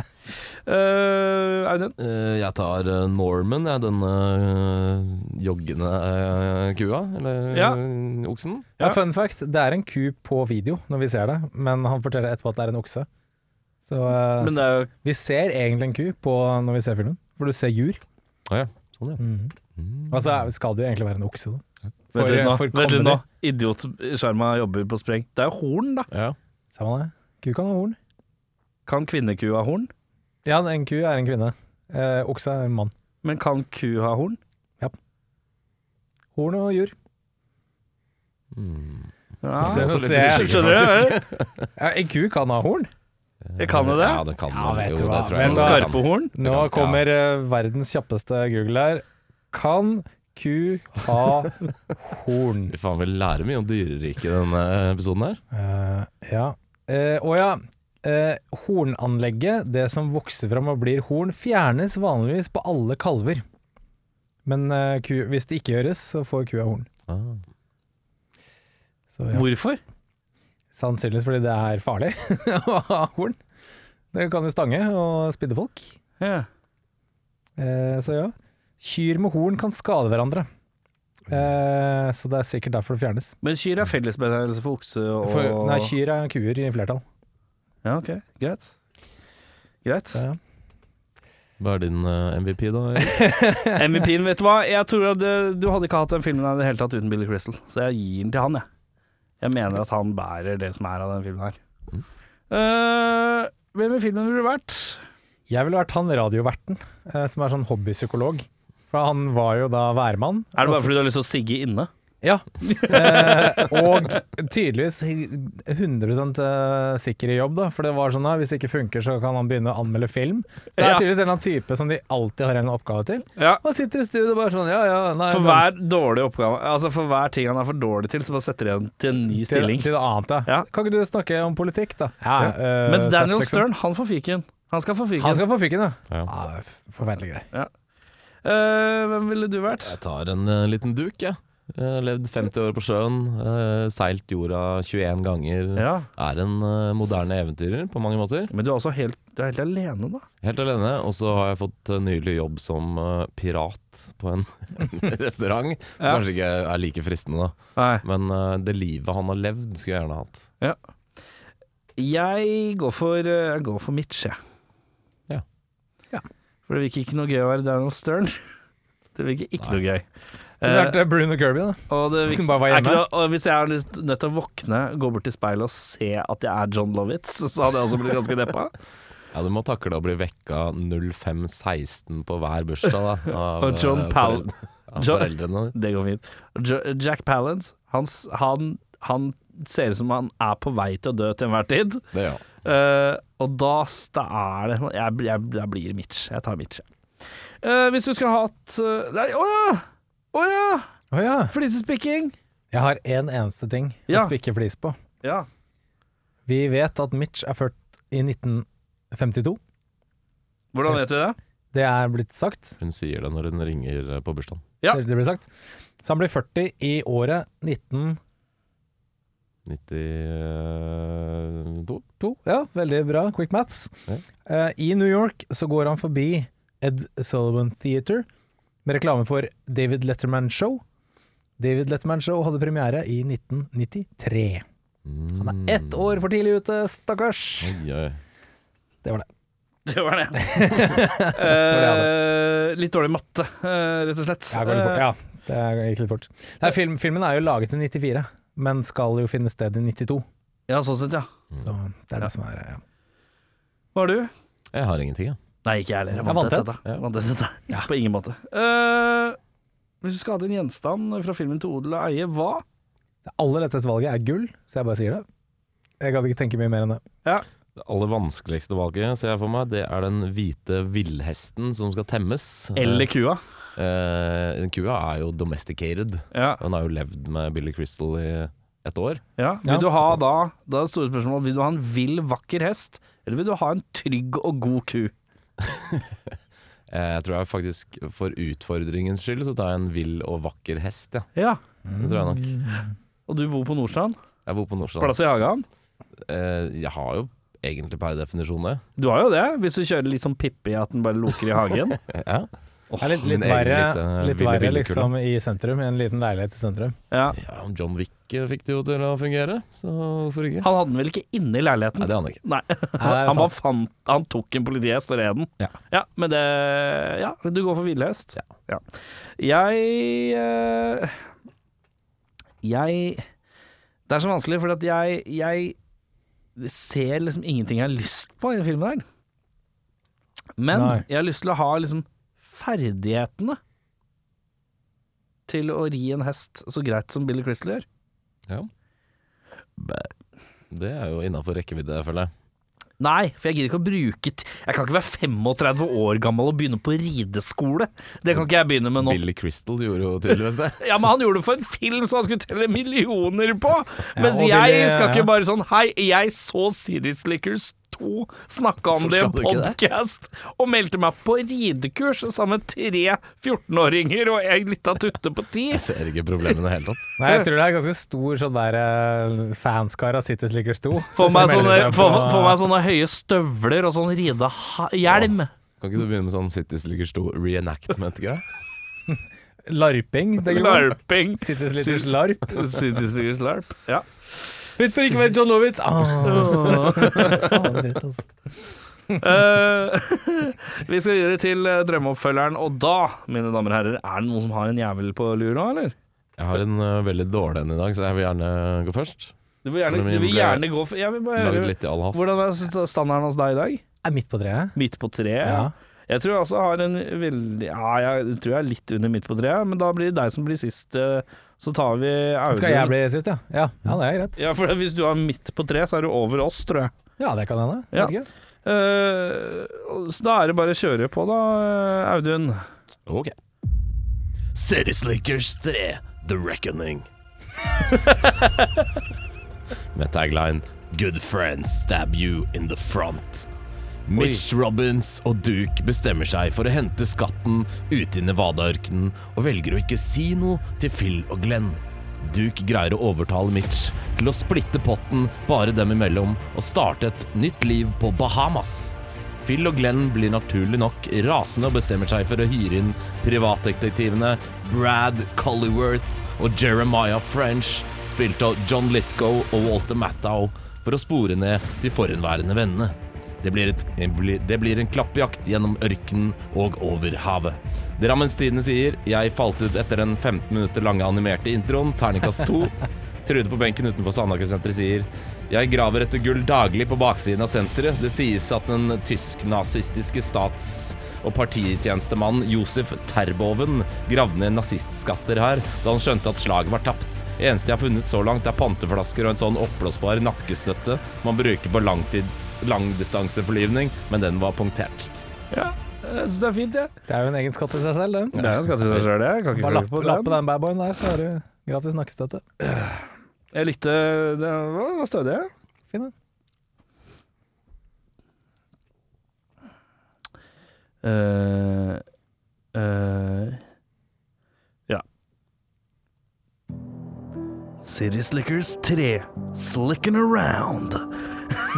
Eh, Audun?
Eh, jeg tar eh, Norman, jeg, denne eh, joggende eh, kua, eller
Ja.
eh, oksen.
Ja.
Ja. Fun fact, det er en ku på video når vi ser det, men han forteller etterpå at det er en okse. Så eh,
Men det er jo
vi ser egentlig en ku på, når vi ser filmen, for du ser jur.
Å ja, sånn ja.
Mhm.
Mm.
Altså, skal det jo egentlig være en okse, da? For-
Vent litt nå,
for
vent litt nå.
comedy.
Idiotskjerma jobber på spreng. Det er jo horn, da.
Ja.
Samme det. Ku kan ha horn.
Kan kvinneku ha horn?
Ja, en ku er en kvinne. Eh, okse er en mann.
Men kan ku ha horn?
Horn og jur.
Mm.
Ja.
Se-
Også litt
se-
usikker,
Skjønner
faktisk.
du?
Ja, en ku kan ha horn.
Jeg kan jo det.
Ja, det kan
Ja,
man.
vet
jo,
du hva.
det tror
Men
jeg.
En
da-
man
skarpe horn?
Nå
Ja.
kommer eh, verdens kjappeste Google her. Kan ku ha horn?
Fy faen, vi lærer mye om dyreriket i denne episoden her.
Eh, ja. Eh, å ja. Eh, hornanlegget, det som vokser fram og blir horn, fjernes vanligvis på alle kalver. Men eh, ku, hvis det ikke gjøres, så får kua horn.
Ah.
Så, ja.
Hvorfor?
Sannsynligvis fordi det er farlig å ha horn. Det kan jo stange og spidde folk.
Ja.
Eh, så ja. Kyr med horn kan skade hverandre. Eh, så det er sikkert derfor det fjernes.
Men kyr er fellesbetegnelse for okse og
For, nei, kyr er kuer i flertall.
Ja, ok, greit. Greit.
Så, ja.
Hva er din eh, MVP, da? Erik?
MVP-en, vet du hva? Jeg tror at eh, Du hadde ikke hatt den filmen her i det hele tatt uten Billy Crystal, så jeg gir den til han, jeg. Jeg mener at han bærer det som er av den filmen her. Eh, hvem i filmen ville du vært?
Jeg ville vært han radioverten, eh, som er sånn hobbypsykolog. For han var jo da værmann.
Er det bare
og så-
fordi du har lyst til å sigge inne?
Ja. Eh, og tydeligvis 100 eh, sikker i jobb, da. For det var sånn at hvis det ikke funker, så kan han begynne å anmelde film. Så det er
Ja.
tydeligvis en eller annen type som de alltid har en eller annen oppgave til.
Ja.
Og sitter i studio bare sånn, ja ja nei,
For
men-
hver dårlig oppgave Altså for hver ting han er for dårlig til, så bare setter de han til en ny
til,
stilling.
til det annet, ja.
Ja.
Kan ikke du snakke om politikk, da? Ja, eh,
Mens Daniel
Seth, liksom.
Stern, han får fyken. Han skal få
Han
fyken.
skal få fyken, ja.
Ja.
ja det er f- Forferdelig greier.
Eh, hvem ville du vært?
Jeg tar en eh, liten duk, jeg. Eh, levd 50 år på sjøen, eh, seilt jorda 21 ganger.
Ja.
Er en eh, moderne eventyrer på mange måter.
Men du er også helt, du er helt alene, da.
Helt alene. Og så har jeg fått eh, nylig jobb som eh, pirat på en restaurant. Som
Ja.
kanskje ikke er like fristende, da.
Nei.
Men eh, det livet han har levd, skulle jeg gjerne hatt.
Jeg går for, eh, jeg går for Mitch, jeg.
Ja.
Ja.
For det virker ikke noe gøy å være Daniel Stern. Det virker ikke noe gøy.
Det
Eh,
vært Bruno Kirby, da.
og det virker,
Som bare var
er ikke
hjemme.
noe, og hvis jeg er litt nødt til å våkne, gå bort til speilet og se at jeg er John Lovitz, så hadde jeg også blitt ganske deppa.
Ja, Du må takle å bli vekka 05.16 på hver bursdag da, av,
Og John
eh,
Powell.
foreld- av
John-
foreldrene.
Det går fint. Jo, Jack Palance, han, s- han, han ser ut som han er på vei til å dø til enhver tid.
Det gjør han.
Eh, og da, s- da er det jeg, blir- jeg, jeg blir Mitch. Jeg tar Mitch. jeg. Eh, hvis du skulle hatt eh, Nei, å ja! Å ja!
Å ja.
Flisespikking!
Jeg har én en eneste ting
Ja.
å spikke flis på.
Ja.
Vi vet at Mitch er født i 1952.
Hvordan vet vi det?
Det er blitt sagt.
Hun sier det når hun ringer eh, på bursdagen.
Ja.
Det, det blir sagt. Så han blir 40 i året 1902.
92?
Ja, veldig bra. Quick maths.
Ja.
Eh, I New York så går han forbi Ed Sullivan Theater med reklame for David Letterman Show. David Letterman Show hadde premiere i 1993. Han er ett år for tidlig ute, stakkars!
Mm. Oi, oi.
Det var det.
Det var det.
hadde.
Eh, litt dårlig matte, eh, rett og slett.
Ja, går litt fort. ja Eh, det gikk litt fort. Nei, film, filmen er jo laget i 94, men skal jo finne sted i 92.
Eh, ja, sånn sett, ja.
Så det er det som er ja.
Hva har du?
Jeg har ingenting, jeg.
Nei, ikke jeg heller. Jeg
Jeg
vant
vant
dette. Jeg Vant dette. På ingen måte. Eh, hvis du skulle hatt en gjenstand fra filmen til odel og eie, hva?
Det aller letteste valget er gull, så jeg bare sier det. Jeg kan ikke tenke mye mer enn det.
Det aller vanskeligste valget ser jeg for meg, det er den hvite villhesten som skal temmes.
Eller kua.
Eh, den kua er jo domesticated.
Ja.
Den har jo levd med Billy Crystal i et år.
Ja. Vil
Ja.
du ha da, da er det store spørsmålet, vil du ha en vill, vakker hest, eller vil du ha en trygg og god ku?
Eh, jeg tror jeg faktisk for utfordringens skyld så tar jeg en vill og vakker hest, ja.
Ja.
Det tror jeg nok.
Og du bor på Nordstrand?
Jeg bor på Nordstrand.
Plass i hagen?
Eh, jeg har jo egentlig per definisjon det.
Du har jo det, hvis du kjører litt sånn Pippi at den bare loker i hagen.
Eh, Ja.
Det er litt, litt
Min egen
verre,
lite
litt
ville
verre
villkule.
liksom i sentrum, i en liten leilighet i sentrum.
Ja.
ja, John Wick eh, fikk det jo til å fungere, så hvorfor ikke?
Han hadde den vel ikke inne i leiligheten?
Nei, det aner jeg ikke.
Nei.
det er
han bare
sant.
fant Han tok en politihest og red den.
Ja.
men det Ja, du går for villhest.
Ja.
Jeg eh, Jeg Det er så vanskelig, for at jeg Jeg ser liksom ingenting jeg har lyst på i den filmen her. Men
Nei.
jeg har lyst til å ha liksom ferdighetene til å ri en hest så greit som Billy Crystal gjør.
Det er jo innafor rekkevidde, føler jeg.
Nei, for jeg gidder ikke å bruke t Jeg kan ikke være 35 år gammel og begynne på rideskole. Det kan ikke jeg begynne med nå.
Billy Crystal gjorde jo tydeligvis det.
Ja, men han gjorde det for en film som han skulle telle millioner på! Mens
og
jeg
Billy-
skal
ja.
ikke bare sånn Hei, jeg så Serious Lickers 2 snakke om
Hvorfor
det i en
skal du ikke det?
podkast, og meldte meg på ridekurs sammen med tre 14-åringer og ei lita tutte på ti.
Jeg ser ikke problemene i det hele tatt.
Nei, jeg tror det er ganske stor sånn der eh, fanskar av City Slickers 2.
Få
som
meg,
melder
sånne,
seg
få,
på-
få meg sånne høye støvler og sånn ridehjelm.
Kan ikke du begynne med sånn City Slickers 2 reenactment greier
Larping. Det er ikke noe.
Larping.
sånn- City Slickers larp.
City Slickers larp. Ja.
Fritt for ikke å være John Lovitz! Ah. Faen, dritt, altså.
Eh, vi skal videre til eh, drømmeoppfølgeren, og da, mine damer og herrer, er det noen som har en jævel på lur nå, eller?
Jeg har en ø, veldig dårlig en i dag, så jeg vil gjerne gå først.
Du vil gjerne,
Men vi
du vil
ble-
gjerne gå for Jeg vil bare
Laget
høre
litt i all hast.
Hvordan er st- standarden hos deg i dag?
Er midt på treet.
Midt på treet?
Ja.
Jeg tror jeg også har en veldig Ja, jeg tror jeg er litt under midt på treet, men da blir det deg som blir sist. eh, Så tar vi Audun.
Skal jeg bli sist, ja? Ja, ja det er greit.
Ja, for hvis du er midt på treet, så er du over oss, tror jeg.
Ja, det kan hende.
Ja.
Vet ikke.
Eh, så da er det bare å kjøre på, da, eh, Audun.
Ok.
City Slickers 3 The Reckoning.
Med tagline
Good friends stab you in the front. Mitch Robbins og Duke bestemmer seg for å hente skatten ute i Nevada-ørkenen og velger å ikke si noe til Phil og Glenn. Duke greier å overtale Mitch til å splitte potten bare dem imellom og starte et nytt liv på Bahamas. Phil og Glenn blir naturlig nok rasende og bestemmer seg for å hyre inn privatdetektivene Brad Collyworth og Jeremiah French, spilt av John Lithgow og Walter Matthau, for å spore ned de forhenværende vennene. Det blir, et, det blir en klappjakt gjennom ørkenen og over havet. Drammens Tidende sier Jeg falt ut etter den 15 minutter lange animerte introen, terningkast 2. Trude på benken utenfor Sandhagesenteret sier Jeg graver etter gull daglig på baksiden av senteret. Det sies at den tysk-nazistiske stats- og partitjenestemannen Josef Terboven gravde ned nazistskatter her da han skjønte at slaget var tapt. Eneste jeg har funnet så langt, er panteflasker og en sånn oppblåsbar nakkestøtte man bruker på langtids langdistanseforlyvning, men den var punktert.
Ja, jeg syns det er fint, jeg.
Det er jo en egen skatt i seg selv, den.
Det er en skatt til seg sjøl, jeg. Kan ikke
Bare
klage
lappe,
på
lappe
den.
den badboyen der, så har du gratis nakkestøtte.
Jeg likte Det var var stødig. jeg.
Fin den.
Eh, ja. City Slickers 3 Slicking Around.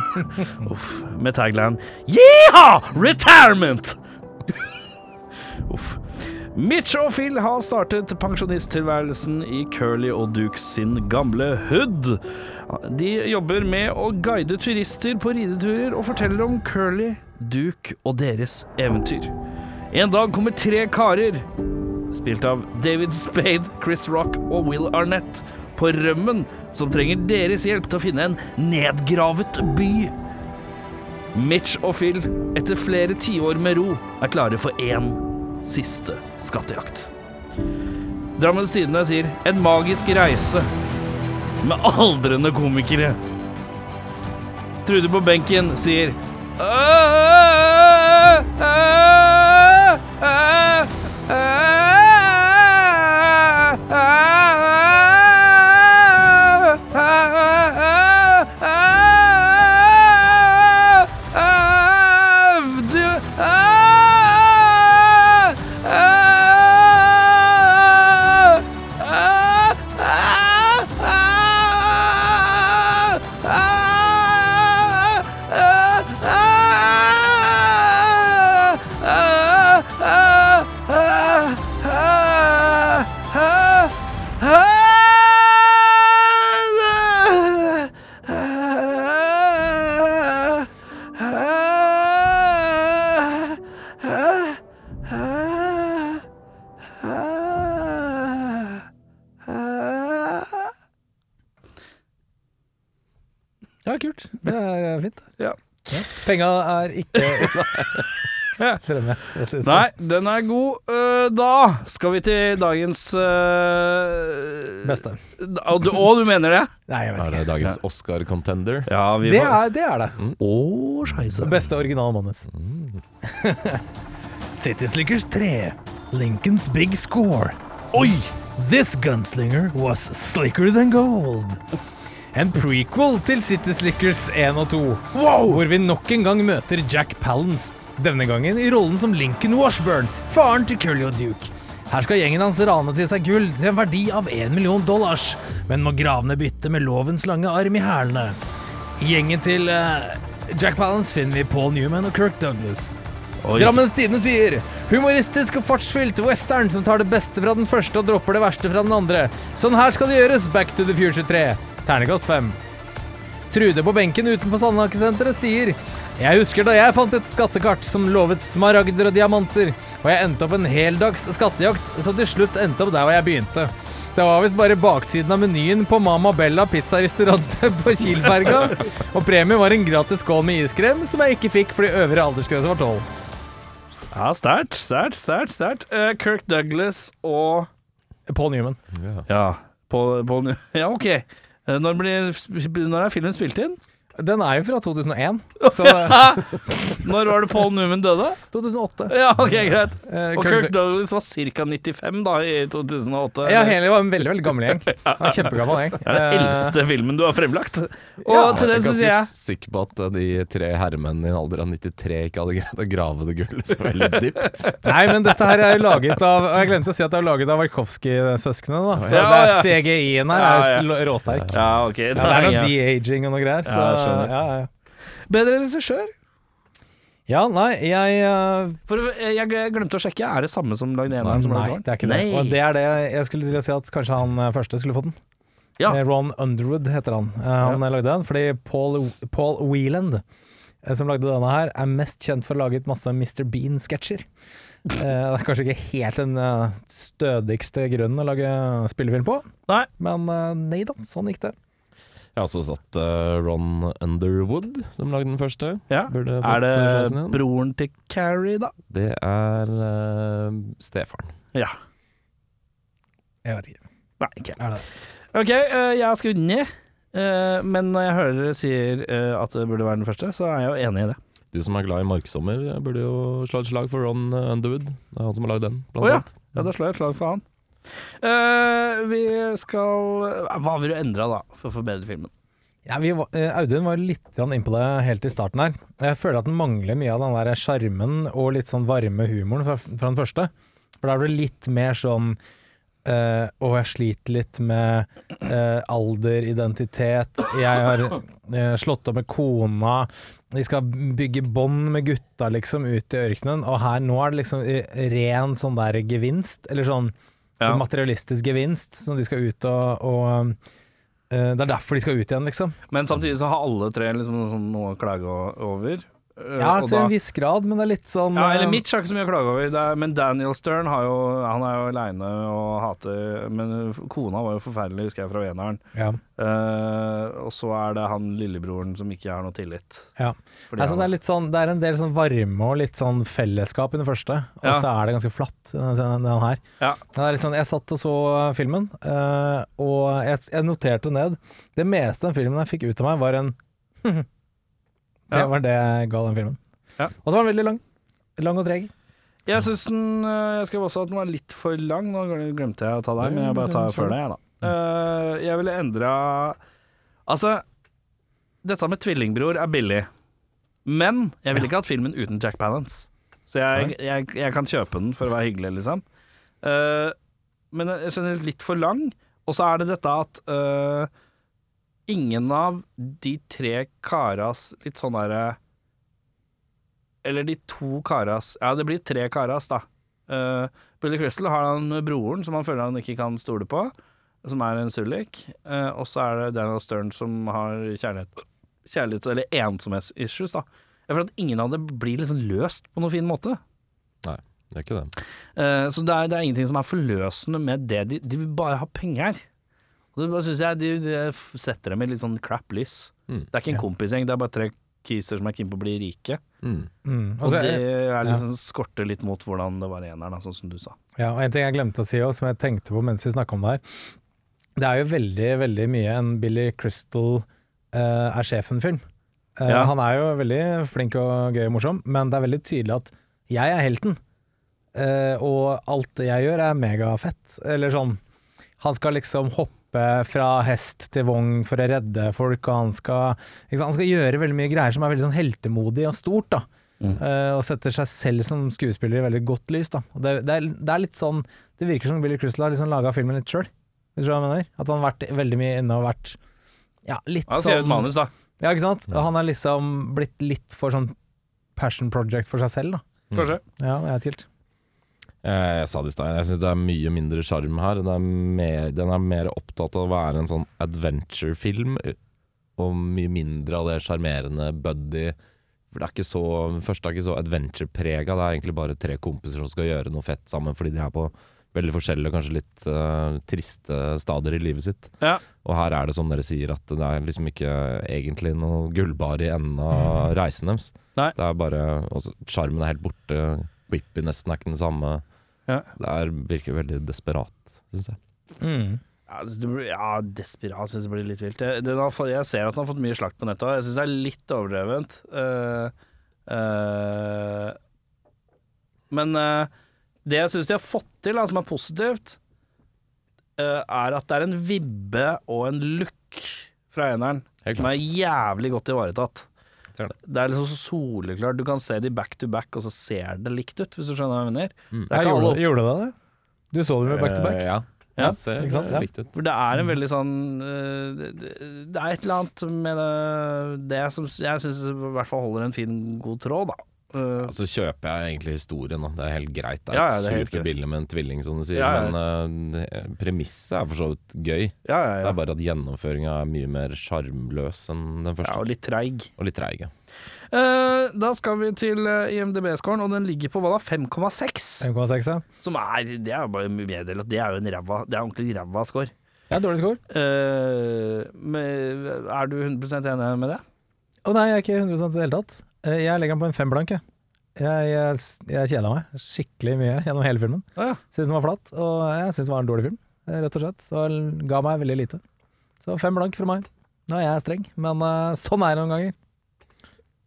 Uff. Med tagline Yeeha! Retirement! Uff. Mitch og Phil har startet pensjonisttilværelsen i Curly og Dukes sin gamle hood. De jobber med å guide turister på rideturer og forteller om Curly, Duke og deres eventyr. En dag kommer tre karer, spilt av David Spade, Chris Rock og Will Arnett, på rømmen, som trenger deres hjelp til å finne en nedgravet by. Mitch og Phil, etter flere tiår med ro, er klare for én siste skattejakt. Drammens Tidende sier 'En magisk reise' med aldrende komikere. Trude på benken sier
Ja, kult. Det er eh, fint.
Ja.
Penga er ikke fremme. jeg synes.
Nei, den er god. Eh, Da skal vi til dagens eh,
Beste.
Og du, og du mener det?
Nei, jeg
Er
vet
det
ikke.
dagens Oscar-contender?
Ja, vi
Det er Mm. det. Er det.
Åh, scheisse.
Beste originale manus. Mm. City Slickers 3. Lincoln's Big Score. Oi! This gunslinger was slicker than gold. En prequel til City Slickers 1 og 2, hvor vi nok en gang møter Jack Palance. Denne gangen i rollen som Lincoln Washburn, faren til Curly og Duke. Her skal gjengen hans rane til seg gull til en verdi av 1 million dollars, men må grave ned byttet med lovens lange arm i hælene. I Gjengen til eh, Jack Palance finner vi Paul Newman og Kirk Douglas. Drammens Tidende sier Humoristisk og fartsfylt western som tar det beste fra den første og dropper det verste fra den andre. Sånn her skal det gjøres Back to the Future 3. Ternekast 5. Trude på benken utenfor Sandhakesenteret sier Jeg husker da jeg fant et skattekart som lovet smaragder og diamanter, og jeg endte opp en heldags skattejakt, så til slutt endte opp der hvor jeg begynte. Det var visst bare baksiden av menyen på Mama Bella pizzarestaurantet på Kielberga, og premien var en gratis skål med iskrem, som jeg ikke fikk fordi øvre aldersgrense var tolv.
Ja, sterkt, sterkt, sterkt. sterkt. Eh, Kirk Douglas og
Paul Newman.
Ja, på, på Ja, OK. Eh, Når, blir, når er filmen spilt inn?
Den er jo fra 2001. Så
Når var det Paul Newman døde?
2008.
Ja, OK, greit.
Eh,
Og
Kirk
Kirk Douglas var ca. 95 da, i 2008.
Ja, Haley var en veldig veldig gammel gjeng. Han var Kjempegammel gjeng.
det er den
Eh,
eldste filmen du har fremlagt. Og
Ja,
til det
jeg er
så sier
ganske
jeg
sikker på at de tre herremennene i en alder av 93 ikke hadde greid å grave det gullet så veldig dypt.
Nei, men dette her er jo laget av Og jeg glemte å si at det er laget av Warkowski-søsknene, da. Så
Ja,
det
ja.
er CGI-en her
Ja,
er
ja.
jo sl- råsterk.
Ja, OK. det
Ja, det er
er
noe
jeg.
de-aging og noe greier. Så,
Ja, jeg skjønner.
ja, ja.
Bedre regissør.
ja, nei, jeg eh,
For eh, jeg jeg glemte å sjekke. Er det samme som lagde eneren? som
Nei,
lagde toeren?
det er ikke det.
Nei.
Og det er det jeg skulle til å si at kanskje han eh, første skulle fått den.
Ja.
Eh, Ron Underwood heter han. Eh, Han lagde den fordi Paul, Paul Wheeland, eh, som lagde denne her, er mest kjent for å ha laget masse Mr. Bean-sketsjer. Eh, Det er kanskje ikke helt den eh, stødigste grunnen å lage spillefilm på,
Nei.
men eh, nei da, sånn gikk det.
Jeg har også satt eh, Ron Underwood, som lagde den første.
Ja.
Burde fått eh,
Er det
eh,
sjansen igjen.
broren til Carrie, da?
Det er eh, stefaren.
Ja.
Jeg vet ikke.
Nei, ikke
Er det?
Ok, eh, jeg har skrevet den ned, eh, men når jeg hører dere sier eh, at det burde være den første, så er jeg jo enig i det.
Du som er glad i marksommer, eh, burde jo slå et slag for Ron eh, Underwood. Det er han som har lagd den, blant
Å ja.
annet.
Ja, da slår jeg et slag for han. Eh, vi skal eh, Hva vil du endre da, for å forbedre filmen?
Ja, vi var, eh, Audun var litt grann innpå det helt i starten her. Jeg føler at den mangler mye av den der sjarmen og litt sånn varme humoren fra, fra den første. For da er det litt mer sånn eh, Å, jeg sliter litt med eh, alder, identitet. Jeg har eh, slått opp med kona. Vi skal bygge bånd med gutta, liksom, ut i ørkenen. Og her nå er det liksom eh, ren sånn der gevinst, eller sånn
Ja.
materialistisk gevinst, som de skal ut og, og eh, Det er derfor de skal ut igjen, liksom.
Men samtidig så har alle tre liksom noe sånn- noe å klage o- over. Eh,
Ja,
og
til
da-
en viss grad, men det er litt sånn
ja, eller
eh,
Mitch har ikke så mye å klage over, det er, men Daniel Stern har jo, han er jo aleine og hater Men eh, kona var jo forferdelig, husker jeg, fra eneren.
Ja.
Eh, og så er det han lillebroren som ikke har noe tillit.
Ja.
Fordi
Altså,
han-
det, er litt sånn, det er en del sånn varme og litt sånn fellesskap i den første, og
Ja.
så er det ganske flatt, øh, den den her.
Ja.
Det er litt sånn, jeg satt og så filmen, eh, og jeg, jeg noterte ned Det meste den filmen jeg fikk ut av meg, var en Det
Ja.
var det jeg ga den filmen.
Ja.
Og så var den veldig lang. Lang og treg.
Jeg syns den øh, Jeg skrev også at den var litt for lang. Nå gl- glemte jeg å ta deg, men jeg bare tar før deg, jeg, da. Øh, jeg ville endra Altså, dette med tvillingbror er billig, men jeg ville ikke hatt filmen uten Jack Palance. Så jeg, jeg, jeg kan kjøpe den for å være hyggelig, liksom. Øh, men jeg skjønner litt for lang. Og så er det dette at øh, ingen av de tre karas litt sånn derre eller de to karas Ja, det blir tre karas, da. Eh, Billy Crystal har han broren som han føler han ikke kan stole på, som er en sullik. Eh, og så er det Daniel Stern som har kjærlighet Kjærlighets- eller ensomhetsissues, da. Jeg føler at ingen av det blir liksom løst på noen fin måte.
Nei, det er ikke det.
Eh, så det er, det er ingenting som er forløsende med det. De, de vil bare ha penger. Og det bare synes jeg de, de f- setter dem i litt sånn crap lys.
Mm.
Det er ikke en kompisgjeng, det er bare tre kiser som er keen på å bli rike.
Mm.
Mm.
Og
så-
det er liksom skorter litt mot hvordan det var i eneren, da, sånn som du sa.
Ja, og En ting jeg glemte å si også, som jeg tenkte på mens vi snakka om det her. Det er jo veldig veldig mye en Billy Crystal eh, er sjefen-film. Eh,
Ja.
Han er jo veldig flink og gøy og morsom, men det er veldig tydelig at jeg er helten. Eh, og alt jeg gjør, er megafett. Eller sånn Han skal liksom hoppe fra hest til vogn for å redde folk, og han skal, ikke sant? Han skal gjøre veldig mye greier som er veldig sånn heltemodig og stort. da Eh, og setter seg selv som skuespiller i veldig godt lys. Da. Og det, det, er, det er litt sånn Det virker som Billy Crystal har liksom laga filmen litt sjøl. Hvis du skjønner hva jeg mener? At han har vært veldig mye inne og vært Ja, litt
Han skrev et
sånn
manus, Mm. da.
Ja, ikke sant? Og han er liksom blitt litt for sånn passion project for seg selv, da.
Kanskje.
Ja, jeg er tilt.
Eh, Jeg sa det i stad, jeg syns det er mye mindre sjarm her. Det er mer, den er mer opptatt av å være en sånn adventure-film, og mye mindre av det sjarmerende buddy. For det er ikke så, den første er ikke så adventure-prega, det er egentlig bare tre kompiser som skal gjøre noe fett sammen, fordi de er på veldig forskjellige og kanskje litt eh, triste stadier i livet sitt.
Ja.
Og her er det som dere sier, at det er liksom ikke egentlig noe gullbar i enden av reisen deres.
Nei.
Det er bare også- Sjarmen er helt borte. Whippy nesten er ikke den samme.
Ja.
Det er, virker veldig desperat, syns jeg.
Ja, jeg synes Mm. det blir- ja desperat syns jeg blir litt vilt. Det, det, har fått- jeg ser at han har fått mye slakt på nettet òg. Jeg syns det er litt overdrevent. Eh, eh, men eh, det jeg syns de har fått til, da, som er positivt, eh, er at det er en vibbe og en look fra eneren
Helt
som er jævlig godt ivaretatt.
Det er det.
Det er liksom så soleklart. Du kan se de back to back, og så ser det likt ut, hvis du skjønner hva jeg mener.
Mm.
Det er ikke alle
gjorde, gjorde det det? Du så det med back to back?
Eh, ja.
Ja,
Det ser
ikke sant?
eh,
Ja.
likt ut.
For det er en veldig sånn øh, Det det- det er et eller annet med det, det som jeg syns i hvert fall holder en fin, god tråd, da. Øh,
Så kjøper jeg egentlig historien, da. Det er helt greit. Det er
Ja,
et
ja, det er helt greit.
superbilde med en tvilling, som du sier.
Ja, ja.
Men eh, det- premisset er for så vidt gøy.
ja, ja,
Det
ja.
er bare at gjennomføringa er mye mer sjarmløs enn
ja.
den første.
Og litt treig.
Og litt treig. ja.
Eh, da skal vi til eh, IMDb-scoren, og den ligger på hva da? 5,6?
5,6, ja.
Som er Det er jo bare å meddele at det er jo en ræva Det er ordentlig ræva score.
Det er dårlig score.
Eh, men er du 100 enig med det?
Å nei, jeg er ikke 100 i det hele tatt. Eh, Jeg legger den på en fem blank, jeg. Jeg, jeg, jeg kjeda meg skikkelig mye gjennom hele filmen.
Å ja.
Syns den var flat, og jeg syns det var en dårlig film, eh, rett og slett. Og den ga meg veldig lite. Så fem blank fra meg. Nå er jeg streng, men eh, sånn er det noen ganger.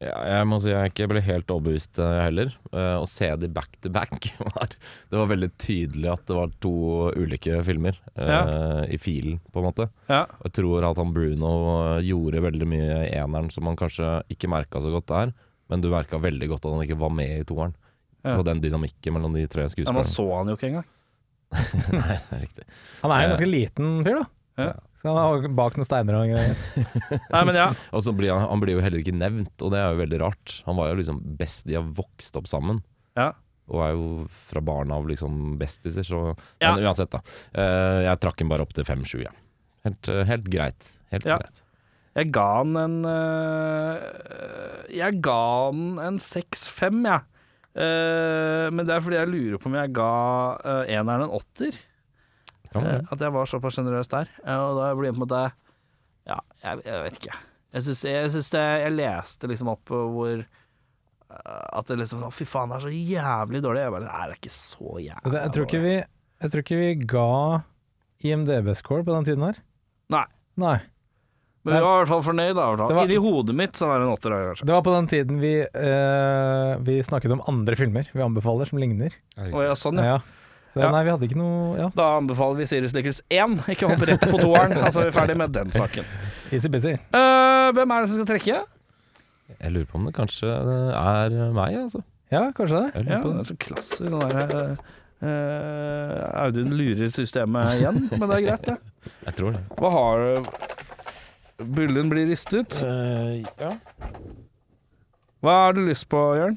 Ja, jeg må si jeg ikke ble helt overbevist eh, heller. Eh, å se de back to back var Det var veldig tydelig at det var to ulike filmer eh, i filen, på en måte.
Ja.
Jeg tror at han Bruno eh, gjorde veldig mye i eneren som han kanskje ikke merka så godt der, men du merka veldig godt at han ikke var med i toeren.
Ja.
På den dynamikken mellom de tre
ja. Man
skuespillerne.
så han jo ikke engang.
Nei, det er riktig.
Han er
Eh.
en ganske liten fyr, da.
Ja.
Så han er bak noen steiner og greier.
Nei, men ja.
Og så blir han, han blir jo heller ikke nevnt, og det er jo veldig rart. Han var jo liksom best De har vokst opp sammen.
Ja.
Og er jo fra barn av liksom bestiser, så
Ja.
Men uansett, da. Eh, jeg trakk den bare opp til 5-7, ja. Helt, eh, helt greit. Helt
Ja.
greit.
Jeg ga han en øh, Jeg ga han en 6-5, jeg. Eh, men det er fordi jeg lurer på om jeg ga øh, eneren en åtter.
Kan
Eh,
være.
at jeg var såpass sjenerøs der. Eh, og da blir det på en måte Ja, jeg, jeg vet ikke. Jeg syns, jeg, synes det, jeg leste liksom opp eh, hvor eh, At det liksom Å, fy faen, det er så jævlig dårlig. Jeg bare Nei, det er ikke så jævlig
Altså, jeg, tror ikke
dårlig.
vi, jeg tror ikke vi ga IMDb-score på den tiden her.
Nei.
Nei.
Men vi var i hvert fall fornøyd. da i hvert
Det
fall.
var-
Inni hodet mitt så var det en åtter. da, kanskje.
Det var på den tiden vi, eh, vi snakket om andre filmer vi anbefaler som ligner.
Å, ja, sånn, ja.
Ja. Så
Ja.
nei, vi hadde ikke noe ja.
Da anbefaler vi Sirius Nichols 1, ikke hopp rett på toeren. Altså, vi er ferdig med den saken.
Easy-busy.
Eh, hvem er det som skal trekke?
Jeg lurer på om det kanskje eh, er meg, altså.
Ja, kanskje det.
Jeg
Ja,
lurer på
det
det.
er så klassisk sånn der eh, eh, Audun lurer systemet igjen, men det er greit, det.
Jeg tror det.
Hva har du? Bullen blir ristet.
Eh,
Hva har du lyst på, Jørn?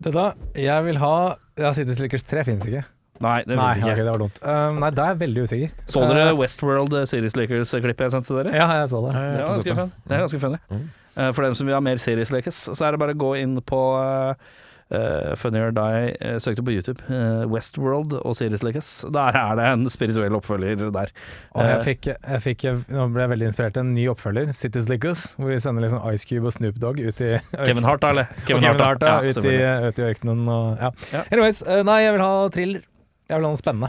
Du da, jeg vil ha ja, City Slickers 3 finnes ikke.
Nei, det
nei,
fins ikke.
ok, det var dumt. Eh, nei, da er jeg veldig usikker.
Så dere
Eh,
Westworld eh, Series Lakers-klippet jeg sendte dere?
ja, jeg så Mm. det.
Det er Eh, ganske fun. Det er ganske funny. Eh, For dem som vil ha mer Series Lakers, så er det bare å gå inn på eh, eh, Funny or Die eh, søkte på YouTube. eh, Westworld og Series Lakers. Der er det en spirituell oppfølger der.
Og jeg
Eh,
fikk, jeg fikk, nå ble jeg veldig inspirert til en ny oppfølger, City Slickers, hvor vi sender liksom Ice Cube og Snoop Dogg ut i
Kevin Hart, da, eller?
Kevin Hart, da,
ja,
ut, i,
selvfølgelig.
ut i ørkenen og ja.
Ja.
Anyways, eh, nei, jeg vil ha thriller. Jeg vil ha noe spennende.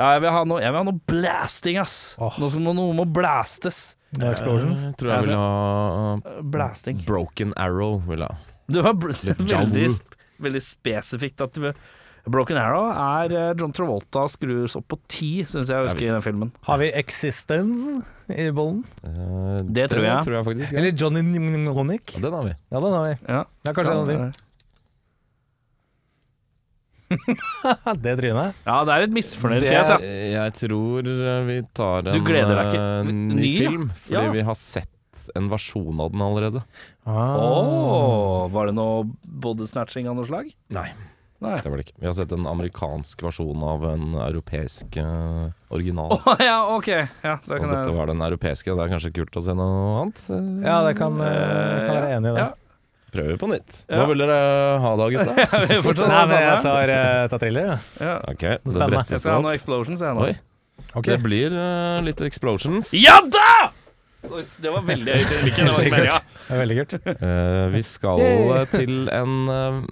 Ja, jeg vil ha noe, jeg vil ha noe blasting, ass.
Åh.
Noe, som, noe må blastes.
No explosions.
Jeg Eh, tror jeg vil ha
Eh,
Mm.
Blasting.
Broken Arrow. Vil jeg. ha.
Du var bl
Litt
veldig,
Jawu.
sp- veldig spesifikt at du, Broken Arrow er eh, John Travolta skrus opp på ti, syns jeg jeg husker i den filmen.
Har vi Existence i bollen?
Eh,
Det tror jeg.
faktisk. Ja.
Eller Johnny Mnemonic?
Ja, Den har vi.
Ja, den har vi.
Ja,
Ja, kanskje en av de. Ja, det trynet.
Ja, det er et misfornøyd
Det-
fjes, ja.
Jeg tror vi tar en
Du gleder deg ikke.
eh, ny,
Ny, ja.
film, fordi
Ja.
vi har sett en versjon av den allerede.
Ah.
Åh, var det noe body snatching av noe slag?
Nei.
Nei.
Det var det ikke. Vi har sett en amerikansk versjon av en europeisk eh, original.
Å ja, OK. Ja, da
Og
kan
dette
jeg
var den europeiske, det er kanskje kult å se noe annet.
Ja, det kan, eh, kan være enig i det.
Ja.
Prøver vi på nytt.
Ja.
Hva vil dere ha da, gutta?
Fortsatt
Nei,
ha det
men jeg
samme.
tar, eh, tar thriller, jeg.
Ja.
Ok, så
Spennende.
Jeg
brettes det
skal ha
opp.
noe explosions, jeg nå.
Oi,
Ok.
det blir eh, litt explosions.
Ja da! Oi, Det var veldig høyt i mikken, det var ikke meninga.
Det er veldig kult.
Eh, vi skal
Yay.
eh, til en eh,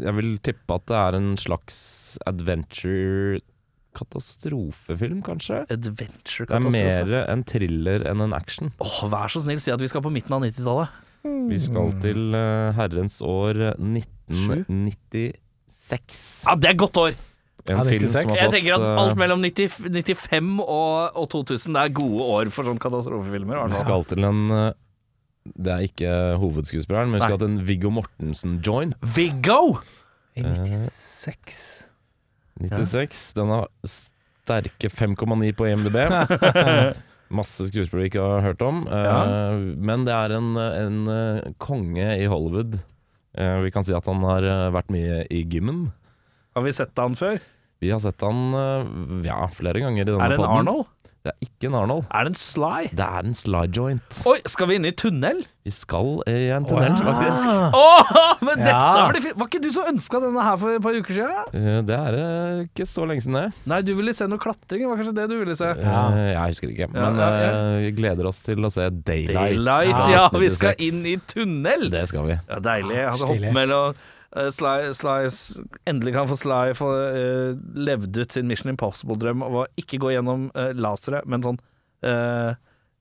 Jeg vil tippe at det er en slags adventure-katastrofefilm, kanskje? Det er
Adventure-katastrofe.
mer en thriller enn en action.
Åh, vær så snill, si at vi skal på midten av 90-tallet.
Vi skal
Mm.
til eh, herrens år 1996.
Ja, det er godt år!
En
Ja,
film som
96.
har
Jeg
fått
tenker at
eh,
alt mellom 90, 95 og, og 2000 Det er gode år for sånne katastrofefilmer. i hvert
Vi
fall.
skal til en eh, Det er ikke hovedskuespilleren, men vi skal
Nei.
til en Viggo Mortensen-joint.
Viggo!
I 96
96. Den har sterke 5,9 på E IMDb. Masse skuespillere vi ikke har hørt om. eh,
Ja.
Men det er en, en eh, konge i Hollywood. Eh, Vi kan si at han har eh, vært mye i gymmen.
Har vi sett han før?
Vi har sett han eh, ja, flere ganger i denne
Er det en
podden.
Arnold?
Det er ikke en Arnold.
Er det en Sly?
Det er en slide joint.
Oi, skal vi inn i tunnel?
Vi skal i en tunnel, faktisk.
Ah.
Åh, men dette
Ja.
blir fint! Var ikke du som ønska denne her for et par uker siden?
Eh, Det er eh, ikke så lenge siden, det.
Nei, du ville se noe klatring. Det var kanskje det du ville se?
Eh, Jeg husker ikke, men
ja, ja.
eh, vi gleder oss til å se Daylight.
Daylight,
fra
ja. Vi skal
1996.
inn i tunnel!
Det skal vi.
Ja, deilig. Altså,
stilig.
hopp mellom eh, Sly, Sly s- Endelig kan få Sly få eh, levd ut sin Mission Impossible-drøm av å ikke gå gjennom uh, lasere, men sånn eh,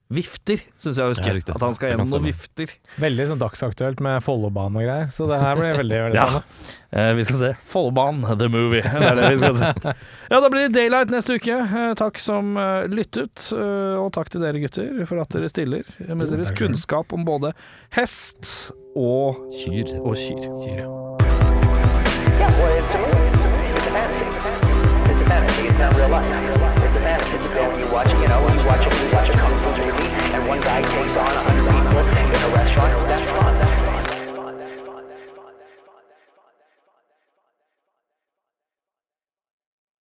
vifter, syns jeg jeg
Ja,
husker.
riktig.
At han skal
Det kan
gjennom noen
stemme.
vifter.
Veldig sånn dagsaktuelt med Follobanen og greier, så det her blir veldig veldig
Ja.
spennende.
Eh, vi skal se Follobanen, the movie. Det er det vi skal se. Ja, da blir det Daylight neste uke. Eh, takk som eh, lyttet, eh, og takk til dere gutter for at dere stiller med deres kunnskap om både hest og,
Kyr.
og kyr.
Yeah, well, it's a movie. It's a movie. It's a fantasy. It's a fantasy. It's a fantasy. It's not real life. It's a fantasy. You go and you watch, you know, and you watch a, you watch a kung fu movie, and one guy takes on a hundred people,